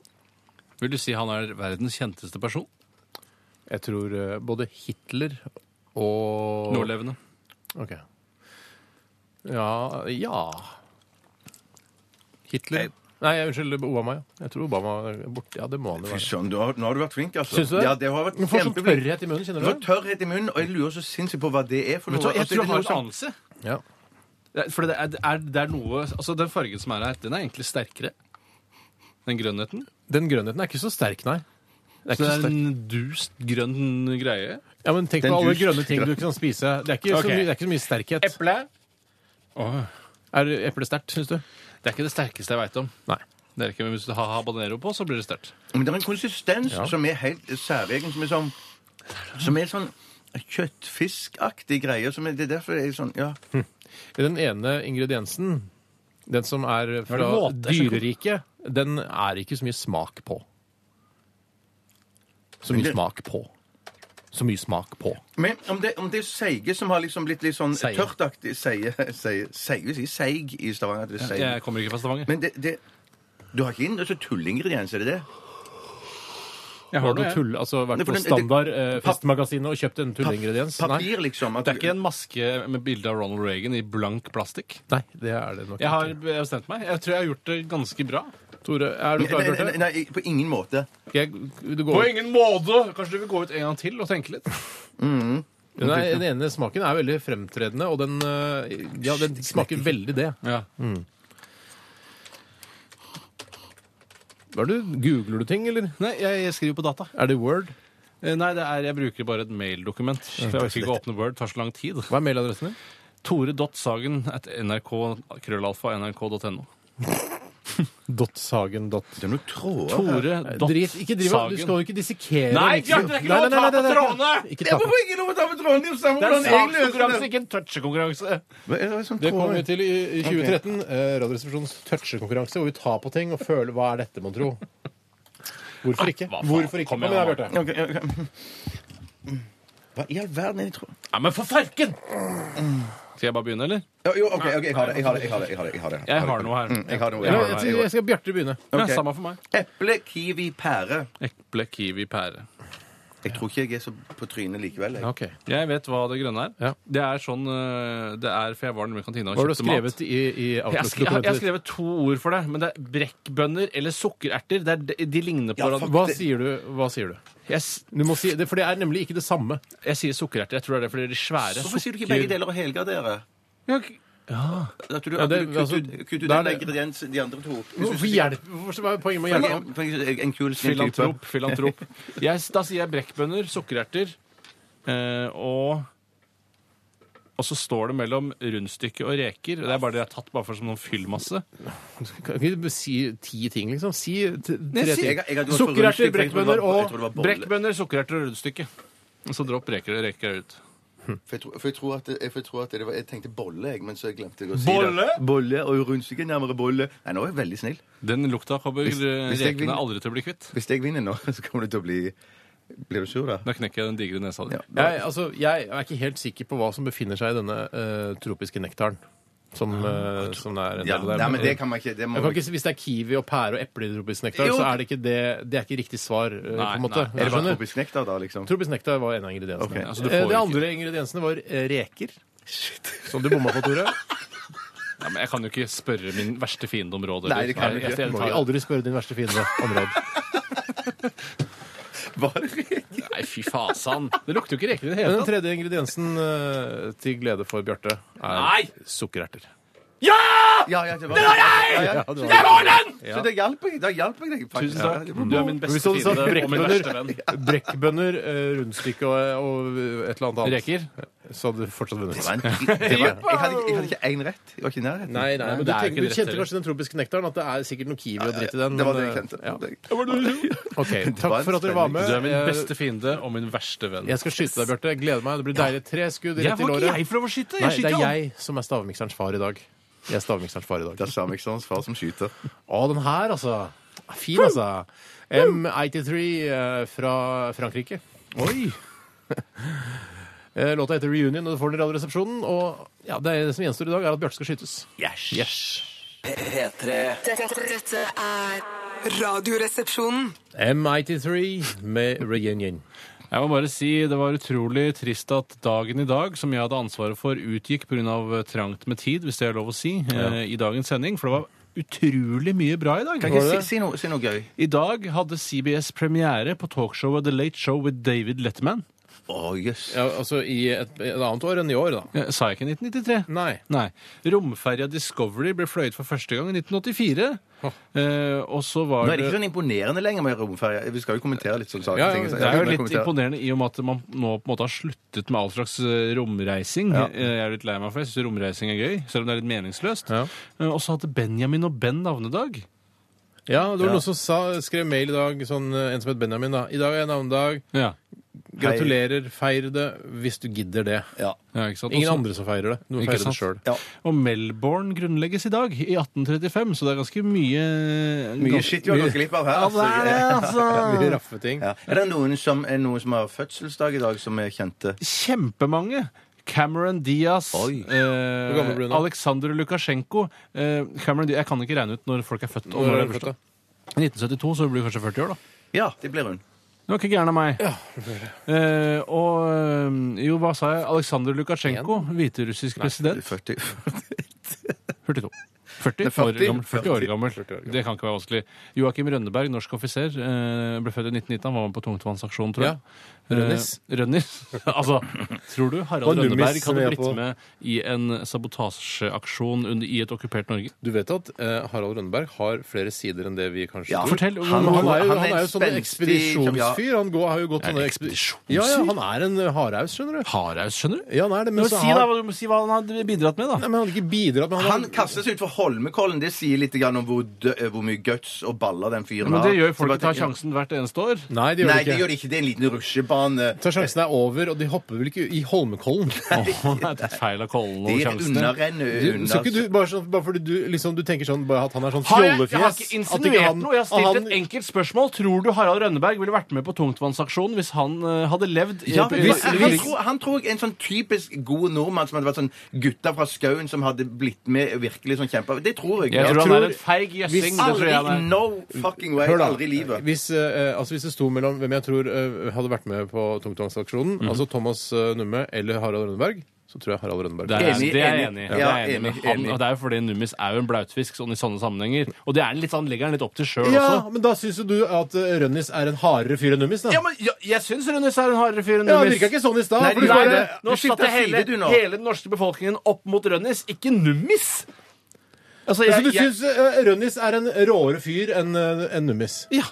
Vil du si han er verdens kjenteste person? Jeg tror eh, både Hitler og Nålevende. Ok. Ja Ja. Hitler Nei, jeg- unnskyld, Obama, ja. Jeg tror Obama er borte. Ja, det må han jo Fy være. søren, du har- nå har du vært flink, altså. Syns du det? Ja, det har vært Du får sånn kjempeflink. tørrhet i munnen, Du får kjenner du? tørrhet i munnen, og jeg lurer så sinnssykt på hva det er for noe. Vet du hva, Og jeg så er det tror jeg noe har en sånn- anelse. Ja. Det er- For det er, det er, det er noe Altså, den fargen som er her, den er egentlig sterkere. Den grønnheten. Den grønnheten er ikke så sterk, nei. Det er ikke Så så det er sterk. en dust grønn greie. Ja, men tenk Den på alle just- grønne ting du kan spise. Det er ikke, så, Ok. mye, det er ikke så mye sterkhet. Eple. Er eplet sterkt, syns du? Det er ikke det sterkeste jeg veit om. Nei. Det er ikke, men Hvis du har habanero på, så blir det sterkt. Men det er en konsistens som er helt særegen, som er sånn Som er sånn kjøttfiskaktig greie. Som er, det er derfor jeg er sånn Ja. Den ene ingrediensen, den som er det fra måter som- dyreriket, den er ikke så mye smak på. Så Men mye det- smak på. Så mye smak på. Men om det, om det er seige som har liksom blitt litt sånn Seige. tørtaktig Seige seige, seige, Vi sier seig i Stavanger. at det er seig. Jeg kommer ikke fra Stavanger. Men det, det Du har ikke inn altså, tulleingrediens, er det det? Jeg Har har du noe, jeg. tull, altså vært Nei, for på den- det- standard eh, festmagasinet og kjøpt en tullingrediens? Nei. Papir, liksom. At Det er ikke en maske med bilde av Ronald Reagan i blank plastikk. Nei, det er det nok Jeg har ikke. bestemt meg. Jeg tror jeg har gjort det ganske bra. Tore, er du Nei, klar, nei, nei, Bjarte? nei, på ingen måte. Jeg- du går- På ingen måte! Kanskje du vil gå ut en gang til og tenke litt? Nei, Den ene smaken er veldig fremtredende, og den, eh, ja, den smaker veldig det. Ja. Hva er det? du- Googler du ting, eller? Nei, jeg skriver på data. Er det Word? Eh, Nei, det er, jeg bruker bare et maildokument. For jeg orker ikke å åpne Word. Det tar så lang tid. Hva er mailadressen din? Tore.sagen at nrk krøllalfa nrk.no. Dottsagen. Dot. Det er noen tråder her. Tore. Eh, Drit, ikke driv, og- du skal jo ikke dissekere Nei, liksom. Bjarte, det er ikke Nei, lov å nei, nei, ta på nei, nei, nei. trådene! Ikke Det ta er på. på ingen lov å ta på tråden! Det er jo samme hvordan jeg løser sakskonkurranse, det. ikke en touchekonkurranse. Hva er det som Det kommer vi tråder? til i i 2013. eh, Radioresepsjonens touchekonkurranse, hvor vi tar på ting og føler Hva er dette, mon tro? Hvorfor ikke? hva faen? Hvorfor ikke? Kom Kom igjen, igjen, da, Bjarte. Ok, ok. Hva i all verden er det i tråden? Nei, men for farken! Skal jeg bare begynne, eller? Jo, Jo, OK, ok, jeg har det. Jeg har det. Jeg har, det, jeg har, det, jeg har, det. Jeg har noe her. Mm, Jeg har noe. Ja, Jeg men har jeg noe, skal- jeg Jeg har skal Bjarte begynne. Ja, Ok. samme for meg. noe. Eple, kiwi, pære. Eple, kiwi, pære. Jeg tror ikke jeg er så på trynet likevel. Jeg. Ok. Jeg vet hva det grønne er. Ja. Det er sånn eh, det er, For jeg var nemlig i kantina Hva og har du kjøpte mat. skrevet i, i Jeg har skre- jeg har Outlook-dokumentet? jeg har skrevet to ord for det, men det er brekkbønner eller sukkererter. Det er, de- de ligner på Ja, fuck. hverandre. Hva sier du? Hva sier du? Jeg, s- du må si, det, for det er nemlig ikke det samme. jeg sier sukkererter. Jeg tror det er det fordi de er svære. Hvorfor sier du ikke Sukker- begge deler og helgradere? Ja, ok. At du, Ja, at det- du kutter altså, ut- kutter ut der en det- ingrediens de andre to. Hvorfor hjelp? Hvorfor, hva er poenget med å hjelpe? En- en- En kul snill type. Filantrop. filantrop. Jeg, s- da sier jeg brekkbønner, sukkererter eh, og og så står det mellom rundstykke og reker. Det er bare det jeg har tatt bare for som noen fyllmasse. Kan ikke du si ti ting, liksom? Si t- tre Jeg- jeg- jeg hadde ting. gått for Sukkererter, rundstykke, for jeg trodde det brekkbønner var- jeg og trodde det var bolle. Brekkbønner, sukkererter og rundstykke. Og så dropp reker og reker ut. For jeg, tror, for jeg tror at, det- jeg, for jeg, tror at det var, jeg tenkte bolle, jeg, men så glemte jeg å si Bolle? det. Bolle og rundstykke nærmere bolle. Nei, nå er jeg veldig snill. Den lukta kommer Hvis- hvis jeg rekene vinner- aldri til å bli kvitt. (laughs) Hvis jeg vinner nå, så kommer det til å bli Blir du sur, da? Da knekker jeg den digre nesa di. Jeg, altså, jeg er ikke helt sikker på hva som befinner seg i denne eh, tropiske nektaren. Som, eh, som er en del Ja, av det. nei, men det kan man ikke det må jeg kan man ikke, si- hvis det er kiwi og pære og eple i tropisk nektar, Jo. så er det ikke det Det er ikke riktig svar. eh, Nei, på en måte. nei. Er det bare Skjønner? tropisk nektar, da, liksom? Tropisk nektar var en av ingrediensene. Ok, altså du får Eh, ikke- det andre ingrediensene var eh, reker. (laughs) Som du bomma på, (laughs) Tore. Ja, men jeg kan jo ikke spørre min verste fiende om råd. Nei, det kan du jeg, ikke. jeg, Du må tar- aldri spørre din verste fiende om råd. Var det riktig? Nei, fy fasan. Det lukter jo ikke reker (laughs) i det Men hele den tatt. tredje ingrediensen eh, til glede for Bjarte er Nei! sukkererter. Ja, ja, det var jeg! Ja, ja. det var Så det hjalp jeg. Da hjalp jeg deg, faktisk. Tusen takk. Ja, det var Du er min Hvis beste du hadde sagt fiende og min verste venn. brekkbønner, brekkbønner eh, rundstykke og, og et eller annet annet, Reker? så hadde du fortsatt vunnet. en- det var- Jeg hadde ikke- jeg hadde ikke én rett. Jeg var ikke i nærheten. Nei, nei, men det du, er tenker, du ikke rett kjente heller. kanskje den tropiske nektaren? At det er sikkert noe kiwi og dritt i den? Det var det men, eh, jeg kjente. ja. Det- (laughs) Ok, Takk var en for at dere var med. Du er min Eh, beste fiende og min verste venn. Jeg skal skyte deg, Bjarte. Jeg Gleder meg. Det blir deilig. Tre skudd rett i låret. for å skyte. Nei, det er jeg som er stavmikserens far i dag. Jeg er stavmikserens far i dag. Det er Samikssons sånn far som skyter. Å, den her, altså. Fin, altså. M83 eh, fra Frankrike. Oi! (laughs) Eh, Låta heter Reunion, og du får den i Radioresepsjonen. Og ja, det, er det som gjenstår i dag, er at Bjarte skal skytes. Yes. P3. Dette, dette er Radioresepsjonen. M83 med Reunion. Jeg må bare si det var utrolig trist at dagen i dag, som jeg hadde ansvaret for, utgikk pga. eh, trangt med tid, hvis det er lov å si, eh, i dagens sending. For det var utrolig mye bra i dag. Kan ikke si, si, noe, si noe gøy. I dag hadde CBS premiere på talkshowet The Late Show with David Letterman. Å, jøss. Ja, altså i et, et annet år enn i år, da. Eh, Sa jeg ikke 1993? Nei. Nei. Romferja Discovery ble fløyet for første gang i 1984. Eh, og så var Nå er det ikke sånn imponerende lenger med romferje. Vi skal jo kommentere litt sånne saker. Ja, ting. det Det er jo Ja, litt kommentere. imponerende i og med at man nå på en måte har sluttet med all slags eh, romreising. Eh, Jeg er litt lei meg for jeg syns romreising er gøy, selv om det er litt meningsløst. Ja. Eh, Og så hadde Benjamin og Ben navnedag. Ja, det var noen som sa, skrev mail i dag, sånn, eh, en som het Benjamin, da. I dag er navnedag. Ja. Gratulerer, feir det hvis du gidder det. Ja. Ja, ikke sant? Ingen Også- andre som feirer det. Du må Ikke feire det sant? sjøl. Ja. Og Melbourne grunnlegges i dag, i 1835, så det er ganske mye eh, Mye ganske- skitt vi har gått glipp av her. Ja, det er det, altså. (laughs) altså! Mye raffe ting. (laughs) Ja. Er det noen som, er noen som har fødselsdag i dag, som er kjente? Kjempemange! Cameron Diaz, Oi. eh, gammel blir du nå? Aleksandr Lukasjenko eh, Cameron Diaz, Jeg kan ikke regne ut når folk er født. og når Når de er har du født, bursdag. da? 1972, så blir du kanskje 40 år, da. Ja, det blir hun. Det var ikke gæren av meg. Eh, og eh, jo, hva sa jeg? Aleksandr Lukasjenko, hviterussisk president. 40. 42. 40, Nei, 40. år gammel, 40 år gammel. 40 år gammel. Det kan ikke være vanskelig. Joakim Rønneberg, norsk offiser, eh, ble født i 1919. Han var med på tungtvannsaksjonen, tror jeg. Rønnis. Eh, Rønnis. (laughs) altså, tror du Og Harald Nummis, Rønneberg som vi hadde er blitt på. med i en sabotasjeaksjon under, i et okkupert Norge? Du vet at eh, Harald Rønneberg har flere sider enn det vi kanskje Ja. tror. Fortell. Han- Han er jo, er han er en jo sånn spenstig- ekspedisjonsfyr. Han går, har jo gått Er sånne det ekspedisjon... ekspedisjonsfyr? Ja, ja, han er en eh, hardhaus, skjønner du. Hardhaus, skjønner du? Ja, han er det, men så si, har... da, hva- du må si hva han hadde bidratt Nei, med, da. men han hadde ikke bidratt, men han, Han kastes ut for Holmenkollen. Det sier litt grann om hvor, dø, eh, hvor mye guts og baller den fyren Men har. det gjør Så bare folk. Tar tenker- sjansen hvert eneste (laughs) år. Nei, det gjør Nei, det det ikke. gjør det ikke. Det er en liten rusjebane. Så sjansen er over, og de hopper vel ikke i Holmenkollen? Åh, det er tatt feil av Kollen Det og er sjansene. unnarennet. Du, skal ikke du, bare, sånn, bare fordi du, liksom, du tenker sånn bare at han er sånn fjollefjes at ikke han- at han- enkelt spørsmål. Tror du Harald Rønneberg ville vært med på tungtvannsaksjonen hvis han eh, hadde levd? i- Ja, men hvis, han, hvis, tror, han tror jeg er en sånn typisk god nordmann som hadde vært sånn gutta fra skauen som hadde blitt med virkelig sånn kjemper. Det tror jeg. jeg tror han tror- er en feig hvis- gjøsing. Det tror aldri, jeg han er. no fucking way. Hør da, Aldri i livet. hvis, eh, altså hvis det sto mellom hvem jeg tror eh, hadde vært med på tungtvannsaksjonen, altså Thomas eh, Numme eller Harald Rønneberg, så tror jeg Harald Rønneberg. Det er, Enig, det er jeg enig. enig i. Ja, Det er jeg enig i. Men enig, han- enig. og Det er jo fordi Nummis er jo en blautfisk sånn i sånne sammenhenger. Og det er han litt, han legger han litt opp til sjøl Ja, også. men da syns jo du at eh, Rønnis er en hardere fyr enn Nummis, da. Ja, men ja, jeg syns Rønnis er en hardere fyr enn Ja, det Nummis. virka ikke sånn i stad. Nei, for du nei, bare- det- Nei, nå Du skifter satte jeg hele, side, du, nå. hele den norske befolkningen opp mot Rønnis, ikke Nummis! Altså, Så du jeg, jeg, syns eh, Rønnis er en råere fyr enn eh, enn Nummis? Ja.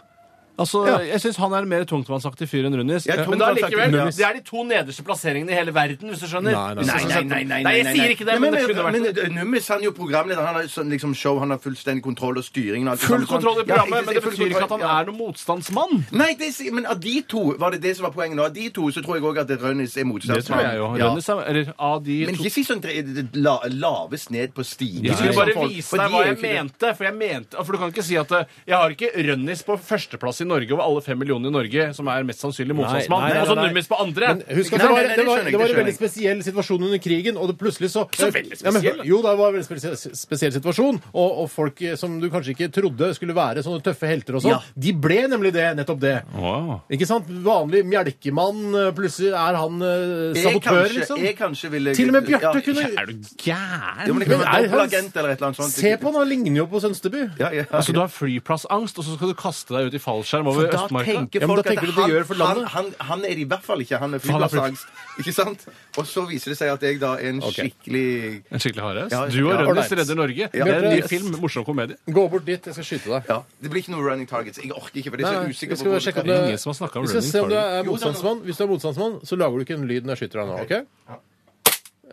Altså, Ja. Jeg syns han er en mer tungtmannsaktig fyr enn Runis. Ja, Men da tungtmannsaktig. likevel, Numis. det er de to nederste plasseringene i hele verden, hvis du skjønner. Nei, nei, Hvis du Nei, skal nei, sette- nei, nei, Nei, jeg nei, sier nei. ikke det, Nei, men det kunne vært sånn- men, Nummis han er jo programleder. Han har sånn liksom show, han har fullstendig kontroll og styringen. og alt Full sånt. kontroll i Ja, programmet, ikke- men det full betyr ikke at han kontroll, ja. er noen motstandsmann. Nei, det, sier- men av de to var det det som var poenget nå. Av de to så tror jeg òg at Rønnis er motstandsmann. Ja. Rønnis er, eller av de Men to ikke si sånn dre- det la, laves ned på stigen. Jeg skulle liksom, bare folk, vise for deg de hva er jo jeg ikke det. mente. For jeg mente, for du kan ikke si at eh, jeg har ikke Rønnis på førsteplass i Norge over alle fem millionene i Norge som er mest sannsynlig motstandsmann. nei, nei, Og så nei. nordmenns på andre! Men husk at Nei, det nei, nei, var, det var, det skjønner jeg, det det var en skjønner veldig spesiell situasjon under krigen, og det plutselig så Ikke så veldig Ja, men- spesiell, da. Jo, det var en veldig spesiell, spesiell situasjon, og, og folk eh, som du kanskje ikke trodde skulle være sånne tøffe helter og sånn, Ja. de ble nemlig det, nettopp det. Wow. Ikke sant? Vanlig mjelkemann, eh, plutselig er han eh, Jeg sabotør, kanskje- liksom. Jeg kanskje ville Til og med Bjarte Ja, kunne Er du gæren? Jo, men det kan Men være er han- dobbeltagent eller et eller annet sånt. Se på han, han ligner jo på Sønsteby. Ja, ja. Altså, du har flyplassangst, og så skal du kaste deg ut i fallskjerm over For da Østmarka? tenker Ja, men da folk at tenker du det han, gjør for han, landet. han, han er det i hvert fall ikke. Han er han er flyplassangst. Ikke sant? Og så viser det seg at jeg da er en skikkelig En skikkelig hardest? Ja, du og ja. Rønnis Alright. redder Norge. Ja. Det er en ny Yes. film, morsom komedie. Gå bort dit, jeg skal skyte deg. ja, Det blir ikke noe running targets. Jeg orker ikke, for det Nei, er så vi usikker skal hvor- sjekke om Det det er ingen som har snakket om Vi skal running se om du targets. er Jo, det er motstandsmann. Hvis du er motstandsmann, så lager du ikke en lyd når jeg skyter deg nå, OK?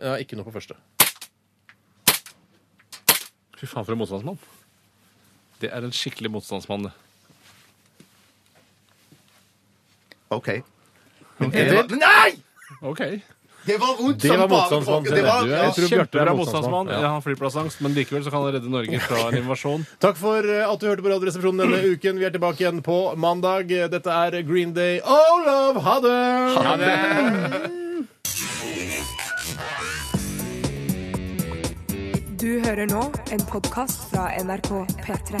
Ja, ikke noe på første. Fy faen, for en motstandsmann. Det er en skikkelig motstandsmann. det. OK. En til. Nei! Ok. Det var vondt Det som var bare motstandsmann. pokker. Det var- Du er- ja. jeg tror Bjarte Kjempebra er motstandsmann. motstandsmann. Ja. Ja. Han har flyplassangst, men likevel så kan han redde Norge fra (laughs) en invasjon. Takk for eh, at du hørte på Radioresepsjonen denne uken. Vi er tilbake igjen på mandag. Dette er Green Day. Oh, love! Ha det! Ha det! Du hører nå en podkast fra NRK P3.